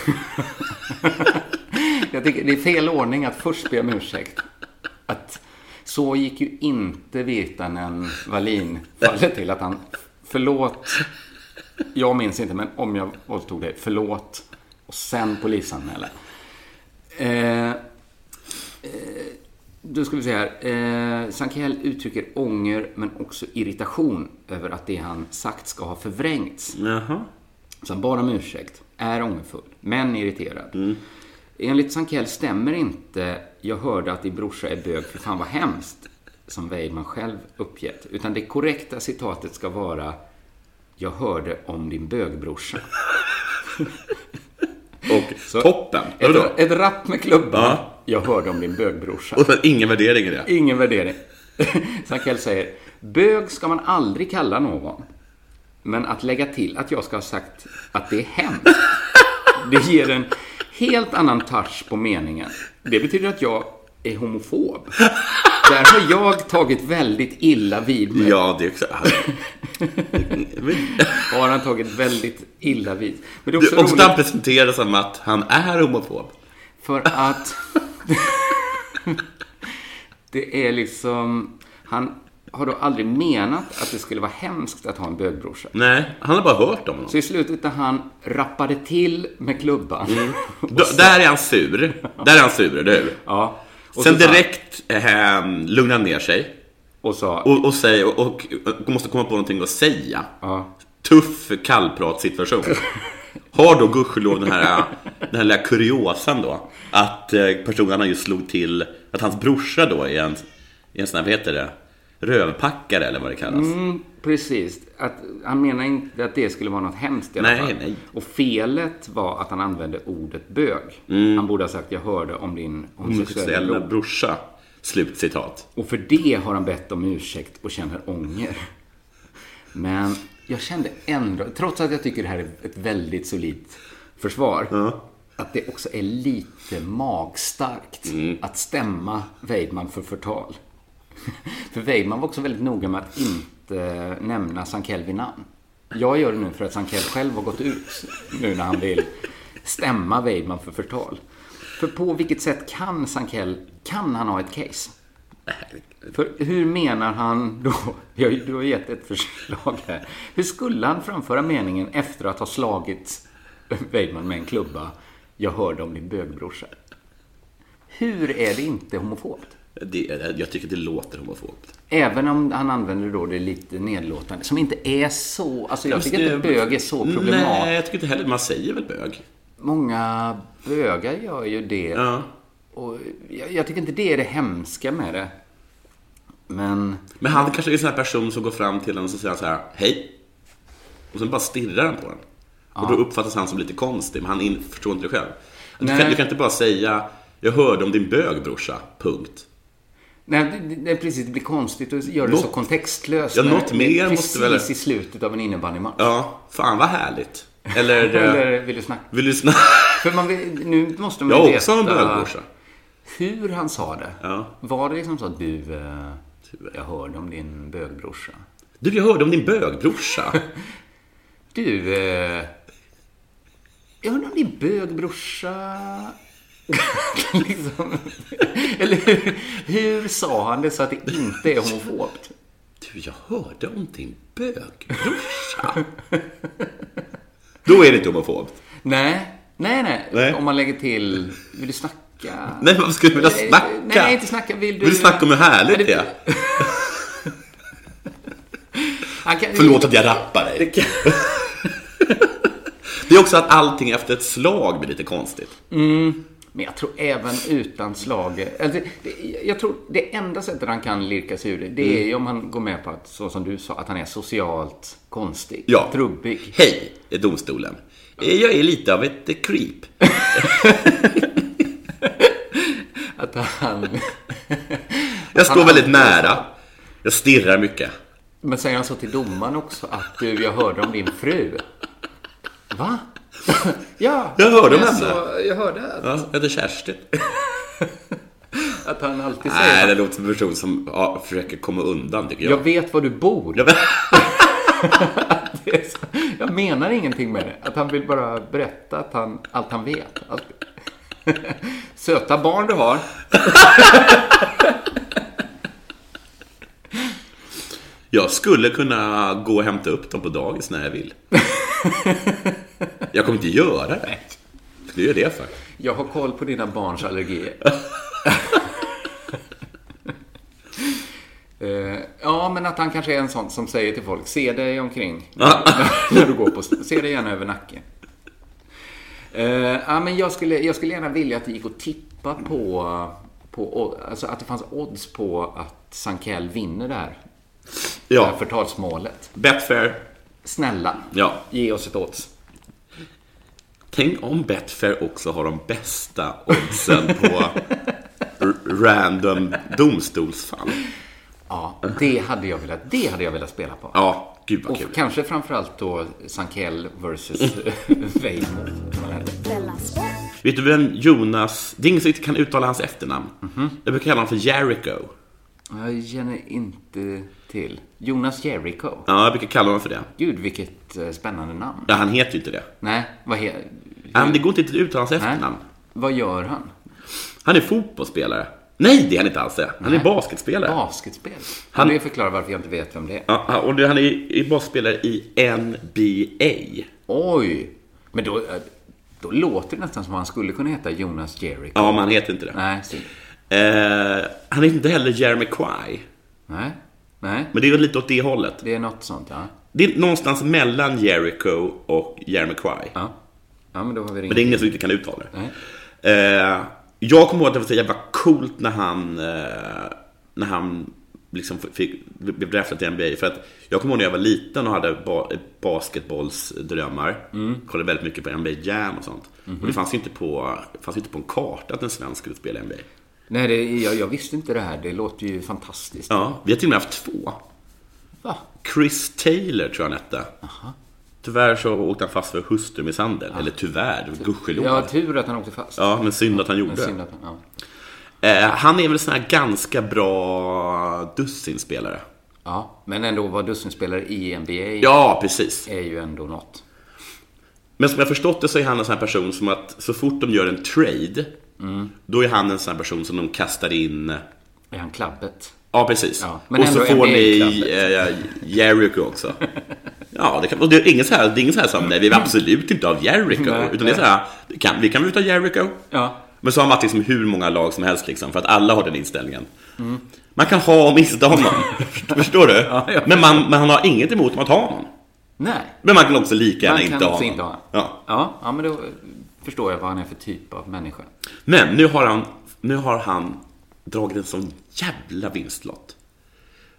S6: Jag tycker det är fel ordning att först be om ursäkt. Att så gick ju inte Virtanen Wallin fallet till att han förlåt. Jag minns inte, men om jag våldtog dig, förlåt. Och sen polisanmäla. Eh, eh, då ska vi se här. Eh, Sankell uttrycker ånger men också irritation över att det han sagt ska ha förvrängts.
S7: Jaha.
S6: Så han bad om ursäkt, är ångerfull, men irriterad.
S7: Mm.
S6: Enligt Sankell stämmer inte jag hörde att din brorsa är bög, för fan vad hemskt, som Weidman själv uppgett. Utan det korrekta citatet ska vara jag hörde om din bögbrorsa.
S7: Och toppen.
S6: Ett,
S7: Vadå?
S6: ett rapp med klubban.
S7: Ja.
S6: Jag hörde om din bögbrorsa.
S7: Och sen ingen värdering i det.
S6: Ingen värdering. Sankell säger, bög ska man aldrig kalla någon. Men att lägga till att jag ska ha sagt att det är hemskt, det ger en helt annan touch på meningen. Det betyder att jag är homofob. Där har jag tagit väldigt illa vid mig.
S7: Ja, det är också...
S6: Har han tagit väldigt illa vid. Men det är
S7: Du,
S6: också
S7: också han
S6: roligt
S7: presenterar som att han är homofob.
S6: för att det är liksom, han har då aldrig menat att det skulle vara hemskt att ha en bögbrorsa.
S7: Nej, han har bara hört om honom.
S6: Så i slutet när han rappade till med klubban.
S7: Mm. Då, där är han sur. Där är han sur, eller hur?
S6: Ja. Och
S7: Sen
S6: så sa han-
S7: direkt eh, lugnar han ner sig.
S6: Och sa...
S7: Och, och, säger, och, och, och måste komma på någonting att säga.
S6: ja.
S7: Tuff kallpratssituation. Har då gudskelov den här, den här lilla kuriosan då. Att eh, personen han just slog till, att hans brorsa då är en, är en sån här, vad heter det? Rövpackare eller vad det kallas.
S6: Mm, precis. Att, han menar inte att det skulle vara något hemskt i alla
S7: Nej,
S6: fall.
S7: nej.
S6: Och felet var att han använde ordet bög. Han borde ha sagt jag hörde om din homosexuella
S7: Mm. Homosexuella
S6: bror.
S7: brorsa. Slutcitat.
S6: Och för det har han bett om ursäkt och känner ånger. Men jag kände ändå, trots att jag tycker det här är ett väldigt solidt försvar, att det också är lite magstarkt att stämma Weidman för förtal. För Weidman var också väldigt noga med att inte nämna Sankell vid namn. Jag gör det nu för att Sankell själv har gått ut nu när han vill stämma Weidman för förtal. För på vilket sätt kan Sankell, kan han ha ett case? För hur menar han då? Jag, har ju- du har gett ett förslag här. Hur skulle han framföra meningen efter att ha slagit Weidman med en klubba? Jag hörde om din bögbrorsa. Hur är det inte homofobt?
S7: Det, eh, jag tycker det låter homofobt.
S6: Även om han använder då det lite nedlåtande, som inte är så... Alltså jag
S7: Fast
S6: tycker inte
S7: det-
S6: bög är så problematiskt.
S7: Nej, jag tycker inte heller Man säger väl bög?
S6: Många bögar gör ju det.
S7: Ja.
S6: Och jag, jag tycker inte det är det hemska med det. Men...
S7: Men han kanske är en sån här person som går fram till en och så säger han så här, hej. Och sen bara stirrar han på den. Och då uppfattas han som lite konstig, men han in, förstår inte det själv. Du kan,
S6: Nej.
S7: du kan inte bara säga, jag hörde om din bög brorsa, punkt.
S6: Nej, det, det, det, precis. Det blir konstigt och gör det så
S7: Något-
S6: kontextlöst.
S7: Ja,
S6: Men
S7: något
S6: det är
S7: mer
S6: precis
S7: måste väl-
S6: i slutet av en innebandymatch.
S7: Ja, fan vad härligt. Eller, eh,
S6: Eller vill du snacka?
S7: vill du lyssna?
S6: För man vill, nu måste man ju
S7: jag har
S6: veta
S7: också en bögbrorsa.
S6: hur han sa det.
S7: Ja.
S6: Var det liksom så att du, eh, jag hörde om din bögbrorsa.
S7: Du, jag hörde om din bögbrorsa.
S6: Du, eh, jag hörde om din bögbrorsa. liksom. Eller hur, hur sa han det så att det inte är homofobt?
S7: Du, jag hörde om din bögbrorsa. Då är det inte homofobt.
S6: Nej, nej, nej.
S7: Nej.
S6: Om man lägger till, vill du snacka? snacka.
S7: Nej, varför skulle du vilja
S6: Nej,
S7: snacka?
S6: Nej, inte snacka. Vill du...
S7: Vill du snacka om hur härligt det är?
S6: Han kan-
S7: Förlåt att jag rappar dig. Det, är också att allting efter ett slag blir lite konstigt.
S6: Mm. Men jag tror även utan slag. Alltså, det, jag tror det enda sättet han kan lirka sig ur det, det är
S7: Mm.
S6: ju om han går med på att, så som du sa, att han är socialt konstig.
S7: Ja.
S6: Trubbig.
S7: Hej, är domstolen. Eh, Jag är lite av ett eh, creep.
S6: Att han...
S7: Jag står
S6: han-
S7: väldigt nära. Jag stirrar mycket.
S6: Men säger han så till domaren också att du, jag hörde om din fru. Va? ja.
S7: Jag hörde om
S6: jag
S7: henne.
S6: så- Jag hörde att,
S7: Ja, jag heter Kerstin.
S6: att han alltid säger
S7: Nej, det låter som en person som ja, försöker komma undan, tycker jag.
S6: Jag vet var du bor. Jag, jag menar ingenting med det. Att han vill bara berätta att han, allt han vet. Allt. Söta barn du har.
S7: Jag skulle kunna gå och hämta upp dem på dagis när jag vill. jag kommer inte göra det. Det gör det för.
S6: Jag har koll på dina barns allergier. Eh, ja, men att han kanske är en sån som säger till folk, se dig omkring när du går på stan. Se dig gärna över nacken. Eh, ja, men jag, skulle, jag skulle gärna vilja att det gick att tippa på, på alltså att det fanns odds på att Sankell vinner det här, det här
S7: Ja,
S6: förtalsmålet.
S7: Betfair.
S6: Snälla,
S7: Ja.
S6: ge oss ett odds.
S7: Tänk om Betfair också har de bästa oddsen på r- random domstolsfall.
S6: Ja, det hade jag velat, det hade jag velat spela på.
S7: Ja, gud vad
S6: Och
S7: kul.
S6: kanske framförallt då Sankell versus Weimo.
S7: Vet du vem Jonas... Det är ingen som riktigt kan uttala hans efternamn.
S6: Mhm.
S7: Jag brukar kalla honom för Jericho.
S6: Jag känner inte till. Jonas Jericho.
S7: Ja, jag brukar kalla honom för det.
S6: Gud, vilket eh, spännande namn.
S7: Ja, han heter ju inte det.
S6: Nej, vad heter...
S7: Ja, men det går inte att uttala hans efternamn.
S6: Vad gör han?
S7: Han är fotbollsspelare. Nej, det är han inte alls. det. Han är
S6: Nej.
S7: basketspelare.
S6: Basketspel? Han...
S7: Han-
S6: Det förklarar varför jag inte vet vem det är.
S7: Ja, ja, och nu- han är, är basketspelare i NBA.
S6: Oj! Men då, eh, då låter det nästan som att han skulle kunna heta Jonas Jericho.
S7: Ja, men han heter inte det.
S6: Nej, synd.
S7: Eh, han heter inte heller Jeremy Quay.
S6: Nej, nej.
S7: Men det är lite åt det hållet.
S6: Det är något sånt, ja.
S7: Det är någonstans mellan Jericho och Jeremy Quay.
S6: Ja, ja men då har vi ringt.
S7: Men det är ingen som riktigt kan uttala det.
S6: Nej.
S7: Eh, jag kommer ihåg att det var så jävla coolt när han, eh, när han liksom f- fick, blev draftad till NBA. För att jag kommer ihåg när jag var liten och hade ba, basketbollsdrömmar.
S6: Mm.
S7: Kollade väldigt mycket på NBA Jam och sånt.
S6: Mhm.
S7: Och det fanns ju inte på, fanns ju inte på en karta att en svensk skulle spela i NBA.
S6: Nej, det, jag, jag visste inte det här. Det låter ju fantastiskt.
S7: Ja, vi har till och med haft två.
S6: Va?
S7: Chris Taylor tror jag han hette. Tyvärr så åkte han fast för hustrumisshandel. Eller tyvärr, gudskelov.
S6: Ah. Ja, tur att han åkte fast.
S7: Ja, men synd att han
S6: Men
S7: gjorde
S6: synd
S7: det.
S6: att han, ja.
S7: Eh, han är väl sån här ganska bra dussinspelare.
S6: ja, men ändå vara dussinspelare i NBA
S7: Ja, precis.
S6: är ju ändå något.
S7: Men som jag förstått det så är han en sån här person som att så fort de gör en trade,
S6: Mm.
S7: då är han en sån här person som de kastar in
S6: Är han klabbet?
S7: Ja, precis.
S6: Ja, men
S7: och så
S6: ändå
S7: får ni
S6: NBA-klabbet.
S7: eh, Jericho också. Ja, det, kan, och det är ingen så här, det är ingen så här som, nej, vi vill absolut inte av Jericho.
S6: Nej,
S7: utan det är så här, det kan, vi kan väl ta Jericho.
S6: Ja.
S7: Men så har man haft liksom hur många lag som helst, liksom, för att alla har den inställningen.
S6: Mm.
S7: Man kan ha och mista honom. Förstår du?
S6: jag
S7: men, man, men han har inget emot att ha honom.
S6: Nej.
S7: Men man kan också lika
S6: Man
S7: gärna
S6: kan
S7: inte ha
S6: också
S7: honom.
S6: inte ha.
S7: Ja.
S6: Ja, ja, men då eh, förstår jag vad han är för typ av människa.
S7: Men nu har han, nu har han dragit en sån jävla vinstlott.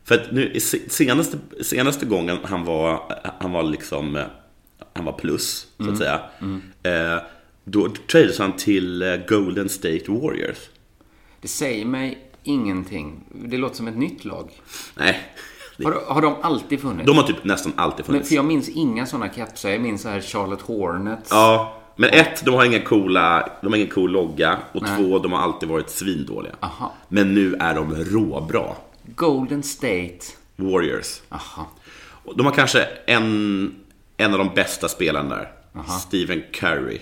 S7: För att nu, i se- senaste, senaste gången han var, han var liksom, eh, han var plus, så att
S6: Mm.
S7: säga. Eh, då trades han till eh, Golden State Warriors.
S6: Det säger mig ingenting. Det låter som ett nytt lag.
S7: Nej,
S6: Har, har de alltid funnits?
S7: de har typ nästan alltid
S6: men,
S7: funnits.
S6: för jag minns inga sådana kepsar. Jag minns så här Charlotte Hornets.
S7: Ja, men ett, de har ingen coola, de har ingen cool logga. Och
S6: Nej.
S7: två, de har alltid varit svindåliga.
S6: Aha.
S7: Men nu är de råbra.
S6: Golden State.
S7: Warriors.
S6: Aha.
S7: Och De har kanske en, en av de bästa spelarna där. Stephen Curry.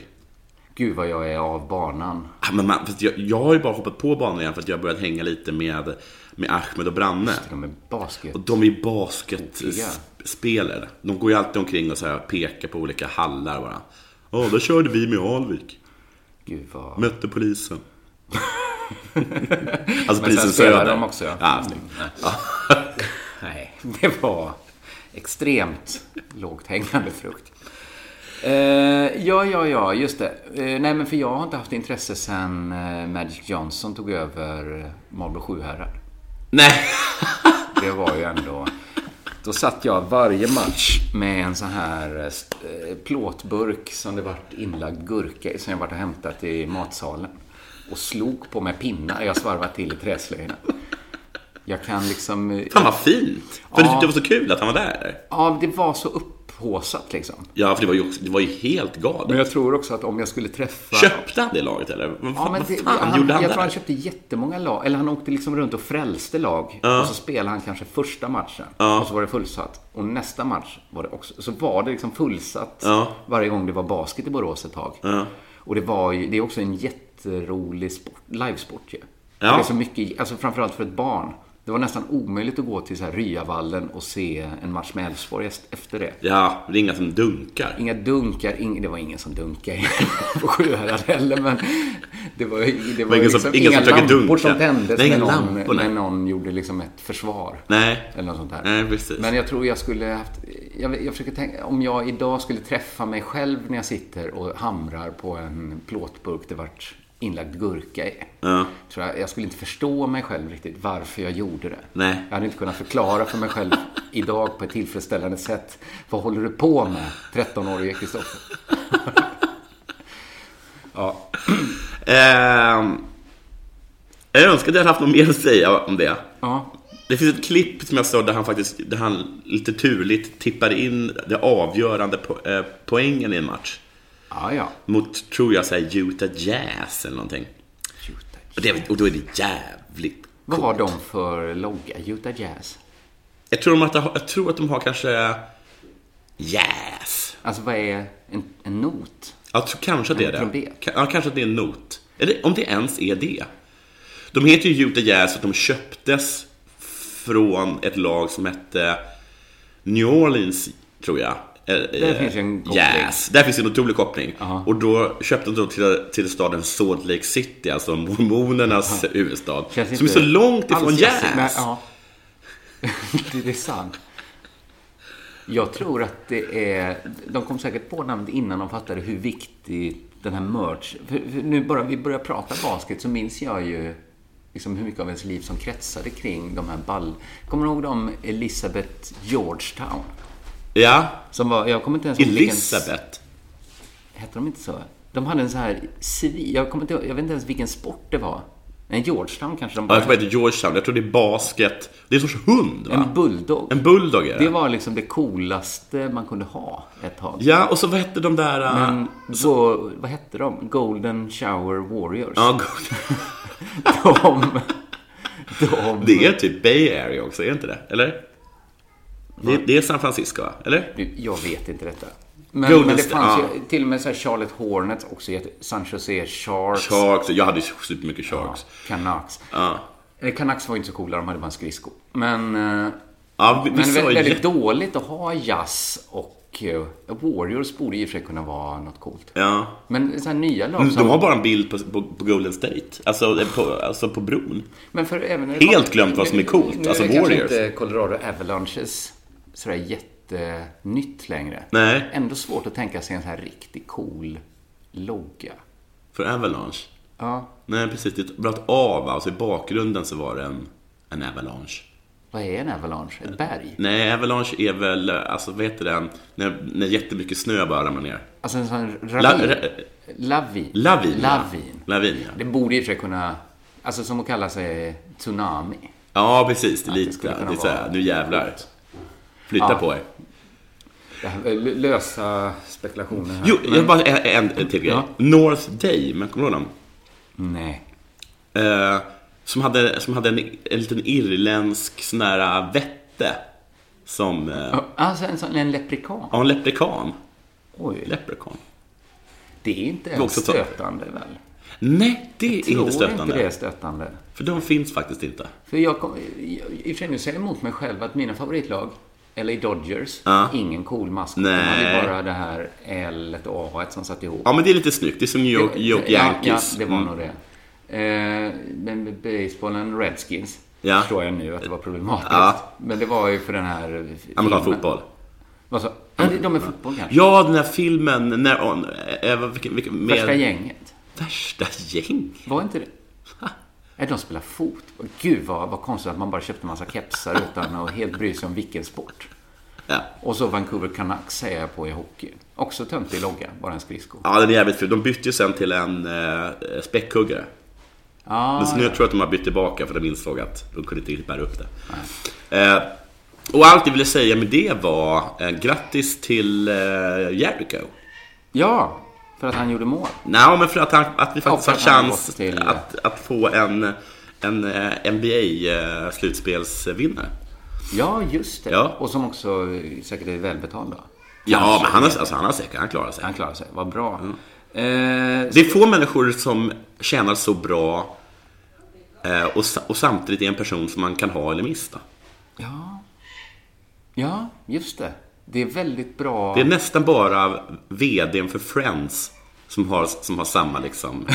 S6: Gud vad jag är av banan.
S7: Ah, Men man, fast jag, jag har ju bara hoppat på banan igen för att jag har börjat hänga lite med, med Ahmed och Branne.
S6: De är basket.
S7: Och de är ju
S6: Tokiga.
S7: basketspelare. De går ju alltid omkring och så här pekar på olika hallar bara. Ja, där körde vi med Alvik.
S6: Gud vad...
S7: Mötte polisen. Alltså
S6: Men sen
S7: prisen
S6: spelar
S7: Söder.
S6: de också, ja.
S7: ja.
S6: Mm. Nej.
S7: Ja.
S6: Nej, det var extremt lågt hängande frukt. Eh, ja, ja, ja, just det. Eh, nej, men för jag har inte haft intresse sen eh, Magic Johnson tog över Marlboro Sjuhärad.
S7: Nej.
S6: Det var ju ändå... Då satt jag varje match med en sån här eh, st- eh, plåtburk som det varit inlagd gurka i, som jag varit och hämtat i matsalen. Och slog på med pinnar. Jag svarvade till i träslöjorna. Jag kan liksom... eh,
S7: Fan vad fint!
S6: Ja.
S7: För du tyckte det var så kul att han var där?
S6: Ja, det var så upphåsat liksom.
S7: Ja, för det var ju, också, det var ju helt galet.
S6: Men jag tror också att om jag skulle träffa...
S7: Köpte han det laget eller? Vad fan,
S6: Ja, men det,
S7: vad fan
S6: han,
S7: gjorde han
S6: jag
S7: där?
S6: tror han köpte jättemånga lag. Eller han åkte liksom runt och frälste lag.
S7: Ja.
S6: Och så spelade han kanske första matchen.
S7: Ja.
S6: Och så var det fullsatt. Och nästa match var det också. Så var det liksom fullsatt
S7: Ja.
S6: varje gång det var basket i Borås ett tag.
S7: Ja.
S6: Och det var ju, det är också en jätterolig sport, livesport ju.
S7: Ja.
S6: Det är så mycket, alltså framförallt för ett barn. Det var nästan omöjligt att gå till så här Ryavallen och se en match med Elfsborg efter det.
S7: Ja, det är inga som dunkar.
S6: Inga dunkar, ing, det var ingen som dunkade på Sjuhärad heller, men det var, det var
S7: ingen som-
S6: liksom
S7: ingen
S6: inga
S7: som försöker
S6: lampor
S7: dunka.
S6: som tändes
S7: Nej,
S6: när
S7: inga
S6: någon,
S7: lampor, nej.
S6: när någon gjorde liksom ett försvar.
S7: Nej.
S6: Eller något sånt där.
S7: Nej, precis.
S6: Men jag tror jag skulle haft, jag, jag försöker tänka, om jag idag skulle träffa mig själv när jag sitter och hamrar på en plåtburk det vart inlagd gurka i.
S7: Ja.
S6: Tror jag, jag skulle inte förstå mig själv riktigt varför jag gjorde det.
S7: Nej.
S6: Jag hade inte kunnat förklara för mig själv idag på ett tillfredsställande sätt. Vad håller du på med, 13-årige Kristoffer? ja.
S7: Ehm, jag önskar att jag hade haft något mer att säga om det.
S6: Ja.
S7: Det finns ett klipp som jag såg där han faktiskt, där han lite turligt tippar in det avgörande po- eh, poängen i en match.
S6: Ja, ja.
S7: Mot, tror jag, så här Utah Jazz eller någonting. Och, det, och då är det jävligt
S6: Vad var de för logga? Utah Jazz?
S7: Jag tror, de att, jag tror att de har kanske Yes!
S6: Alltså, vad är en, en not?
S7: Jag tror kanske att det är
S6: En
S7: det.
S6: trumpet.
S7: Ka- Ja, kanske att det är en not. Eller om det ens är det. De heter ju Utah Jazz för att de köptes från ett lag som hette New Orleans, tror jag.
S6: Där finns ju en koppling.
S7: Jazz. Där finns ju en otrolig koppling.
S6: Aha.
S7: Och då köpte de till, till staden Salt Lake City, alltså mormonernas huvudstad.
S6: Känns
S7: Som är
S6: inte
S7: så långt ifrån
S6: alls
S7: jazz.
S6: rasistiskt. Nej, ja. det, det är sant. Jag tror att det är... De kom säkert på namnet innan de fattade hur viktig den här merch... För, för nu bara vi börjar prata basket så minns jag ju liksom hur mycket av ens liv som kretsade kring de här ball... Kommer du ihåg dem Elizabeth Georgetown?
S7: ja.
S6: Som var, jag kommer inte ens ihåg vilken-
S7: Elizabeth.
S6: Hette de inte så? De hade en så här civil... Jag, kommer inte, ihåg- jag vet inte ens vilken sport det var. En Georgetown kanske de
S7: Ja,
S6: bara
S7: jag tror det heter Georgetown. Jag tror det är basket. Det är en sorts hund, va?
S6: En bulldog.
S7: En bulldog är det.
S6: Det var liksom det coolaste man kunde ha ett tag.
S7: Ja, och så vad hette de där... äh,
S6: Men så, vad hette de? Golden Shower Warriors.
S7: Ja, god.
S6: De, de,
S7: Det är typ Bay Area också, är det inte det? Eller? Det, det är San Francisco, va? Eller?
S6: Du, jag vet inte detta. Men,
S7: Golden
S6: men det
S7: Sta-
S6: fanns
S7: ja.
S6: ju till och med så här Charlotte Hornets också. jätte- San Jose Sharks.
S7: Sharks. Jag hade ju supermycket Sharks.
S6: Canucks.
S7: Ja.
S6: Eh, Canucks var ju inte så coola, de hade bara en skridsko. Men, eh,
S7: Ja, vi, vi
S6: men
S7: sa
S6: väldigt,
S7: ju...
S6: väldigt dåligt att ha jazz och eh, Warriors borde i och för sig kunna vara något coolt.
S7: Ja.
S6: Men så här nya lag
S7: Men
S6: som-
S7: De har bara en bild på, på, på Golden State. Alltså eh, på, alltså på bron.
S6: Men för även när
S7: Helt glömt vad som är coolt,
S6: Nu
S7: alltså
S6: är det kanske
S7: Warriors.
S6: inte Colorado Avalanches sådär jättenytt längre.
S7: Nej.
S6: Ändå svårt att tänka sig en sån här riktigt cool logga.
S7: För Avalanche.
S6: Ja,
S7: Nej, precis. Det är ett- bara ett A, va? Alltså i bakgrunden så var det en, en Avalanche.
S6: vad är en avalanche? Ett berg?
S7: Nej, Avalanche är väl, alltså vad heter den, när, när jättemycket snö bara ramlar ner?
S6: Alltså en sån
S7: La,
S6: ravin?
S7: ra,
S6: Lavin.
S7: lavin, ja.
S6: Lavin.
S7: Lavin, ja.
S6: Det borde i och för sig kunna... Alltså som att kalla sig tsunami.
S7: Ja, precis. Det är
S6: det
S7: lite,
S6: skulle
S7: det
S6: kunna
S7: är så här,
S6: vara-
S7: nu jävlar. Flytta
S6: Ja.
S7: på er.
S6: Det här, eh, lösa spekulationer här.
S7: Jo, jag bara eh, en, en till grej.
S6: Ja.
S7: North Dame, kommer du ihåg dem?
S6: Nej.
S7: Eh, som hade, som hade en, en liten irländsk sån där vette. Som, eh, ja.
S6: Alltså en sån, en leprekan?
S7: en leprekan.
S6: Oj.
S7: Leprekan.
S6: Det är inte
S7: är
S6: ens
S7: också så-
S6: stötande väl?
S7: Nej, det är
S6: Tror
S7: inte
S6: inte
S7: stötande.
S6: det är stötande.
S7: För de finns faktiskt inte.
S6: För jag kom, i i och för sig nu säger jag emot mig själv att mina favoritlag, LA Dodgers,
S7: Ja.
S6: ingen cool maskot. De
S7: Nej.
S6: hade bara det här L och A som satt ihop.
S7: Ja, men det är lite snyggt. Det är som New York, New York
S6: ja, ja,
S7: Yankees.
S6: det var
S7: Mm.
S6: nog det. Eh, men med basebollen Redskins.
S7: Ja.
S6: Förstår jag nu att det var problematiskt.
S7: Ja.
S6: Men det var ju för den här... filmen.
S7: Amerikansk fotboll.
S6: Vad sa ja, det- De är fotboll kanske?
S7: Ja, den här filmen när... On, eh, vad- vilken, vilken, med-
S6: Värsta gänget.
S7: Värsta gäng?
S6: Var inte det? Nej, de spelar fotboll. Gud vad, vad konstigt att man bara köpte en massa kepsar utan att helt bry sig om vilken sport.
S7: Ja.
S6: Och så Vancouver Canucks säger jag på i hockey. Också töntig logga, bara en skridsko.
S7: Ja, den är jävligt ful. De bytte ju sen till en eh, späckhuggare.
S6: Ah,
S7: Men så nu tror jag att de har bytt tillbaka för de insåg att de kunde inte riktigt bära upp det. Eh, och allt jag ville säga med det var eh, grattis till eh, Jericho.
S6: Ja, för att han gjorde mål.
S7: Nej, men för att, han, att vi faktiskt
S6: för
S7: har
S6: att han har
S7: chans
S6: gått till-
S7: att, att få en, en eh, NBA-slutspelsvinnare.
S6: Ja, just det.
S7: Ja.
S6: Och som också eh, säkert är välbetald då.
S7: Ja, men han har, alltså, han har säkert, han klarar sig.
S6: Han klarar sig, vad bra. Eh,
S7: Det är få människor som tjänar så bra eh, och, sa- och samtidigt är en person som man kan ha eller mista.
S6: ja. ja, just det. Det är väldigt bra.
S7: Det är nästan bara VDn för Friends som har, som har samma, liksom,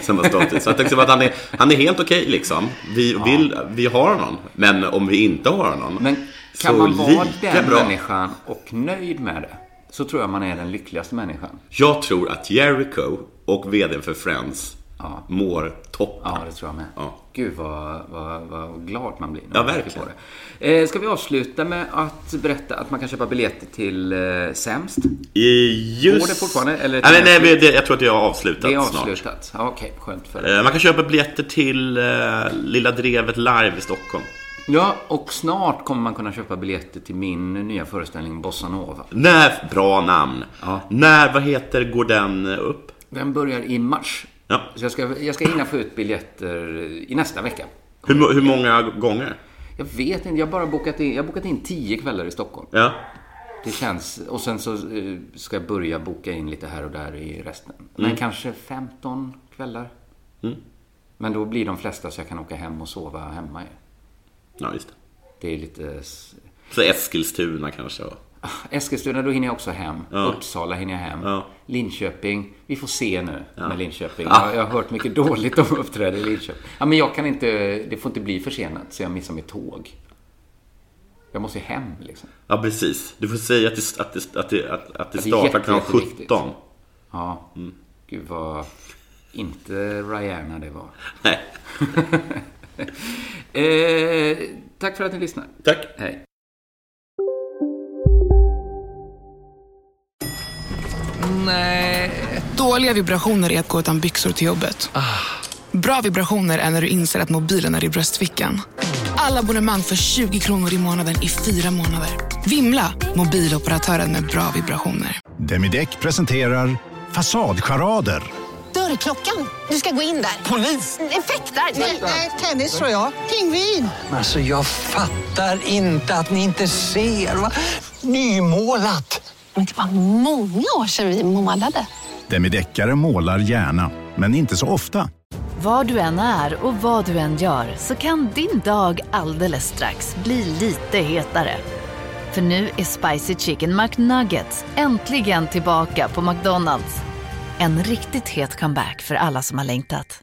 S7: samma status. Så jag tänkte att han är, han är helt okej liksom. Vi, vill, vi har honom. Men om vi inte har någon
S6: Men kan
S7: så
S6: man vara
S7: lika
S6: den
S7: bra.
S6: människan och nöjd med det, så tror jag man är den lyckligaste människan.
S7: Jag tror att Jericho och VDn för Friends
S6: Ja.
S7: mår toppen.
S6: Ja, det tror jag med.
S7: Ja.
S6: Gud, vad, vad, vad glad man blir. när
S7: Ja,
S6: man tänker
S7: verkligen.
S6: på det. Eh, ska vi avsluta med att berätta att man kan köpa biljetter till eh, Sämst?
S7: I- Just...
S6: Går det fortfarande, eller-
S7: nej, nej, nej, det, jag tror att det har avslutat,
S6: Det är
S7: snart.
S6: avslutat. Ja, Okej, skönt för dig.
S7: Eh, Man kan köpa biljetter till eh, Lilla Drevet live i Stockholm.
S6: Ja, och snart kommer man kunna köpa biljetter till min nya föreställning Bossa Nova.
S7: När, bra namn.
S6: Ja.
S7: När, vad heter, går den upp?
S6: Den börjar i mars.
S7: Ja.
S6: Så jag ska, jag ska hinna få ut biljetter i nästa vecka.
S7: Hur, mo- hur många gånger?
S6: Jag vet inte, jag har bara bokat in, jag har bokat in tio kvällar i Stockholm.
S7: Ja.
S6: Det känns, och sen så eh, ska jag börja boka in lite här och där i resten. Men kanske 15 kvällar.
S7: Mm.
S6: Men då blir de flesta så jag kan åka hem och sova hemma ju.
S7: Ja, just det.
S6: Det är lite... s-
S7: Så Eskilstuna kanske? och-
S6: Ah, Eskilstuna, då hinner jag också hem.
S7: Ja.
S6: Uppsala hinner jag hem.
S7: Ja.
S6: Linköping, vi får se nu med Linköping.
S7: Ja.
S6: Jag, jag har hört mycket dåligt om uppträden i Linköping. Ja, men jag kan inte, det får inte bli försenat så jag missar mitt tåg. Jag måste ju hem liksom.
S7: Ja, precis. Du får säga att det, att det, att det, att, att det
S6: Att det är
S7: startar
S6: jätte-
S7: klockan
S6: jätteviktigt.
S7: 17.
S6: Ja,
S7: Mm.
S6: gud vad inte Rihanna det var.
S7: Nej.
S6: eh, tack för att ni lyssnar.
S7: Tack.
S6: Hej.
S12: Dåliga vibrationer är att gå utan byxor till jobbet. Bra vibrationer är när du inser att mobilen är i bröstfickan. Alla abonnemang för 20 kronor i månaden i fyra månader. Vimla! Mobiloperatören med bra vibrationer.
S13: Demideck presenterar Fasadcharader.
S14: Dörrklockan. Du ska gå in där. Polis? Effektar? Nej, nej, tennis tror jag. Pingvin.
S15: Alltså jag fattar inte att ni inte ser. Va? Nymålat!
S16: Men det var många år sedan vi målade.
S13: Demideckare målar gärna, men inte så ofta.
S8: Var du än är och vad du än gör så kan din dag alldeles strax bli lite hetare. För nu är Spicy Chicken McNuggets äntligen tillbaka på McDonalds. En riktigt het comeback för alla som har längtat.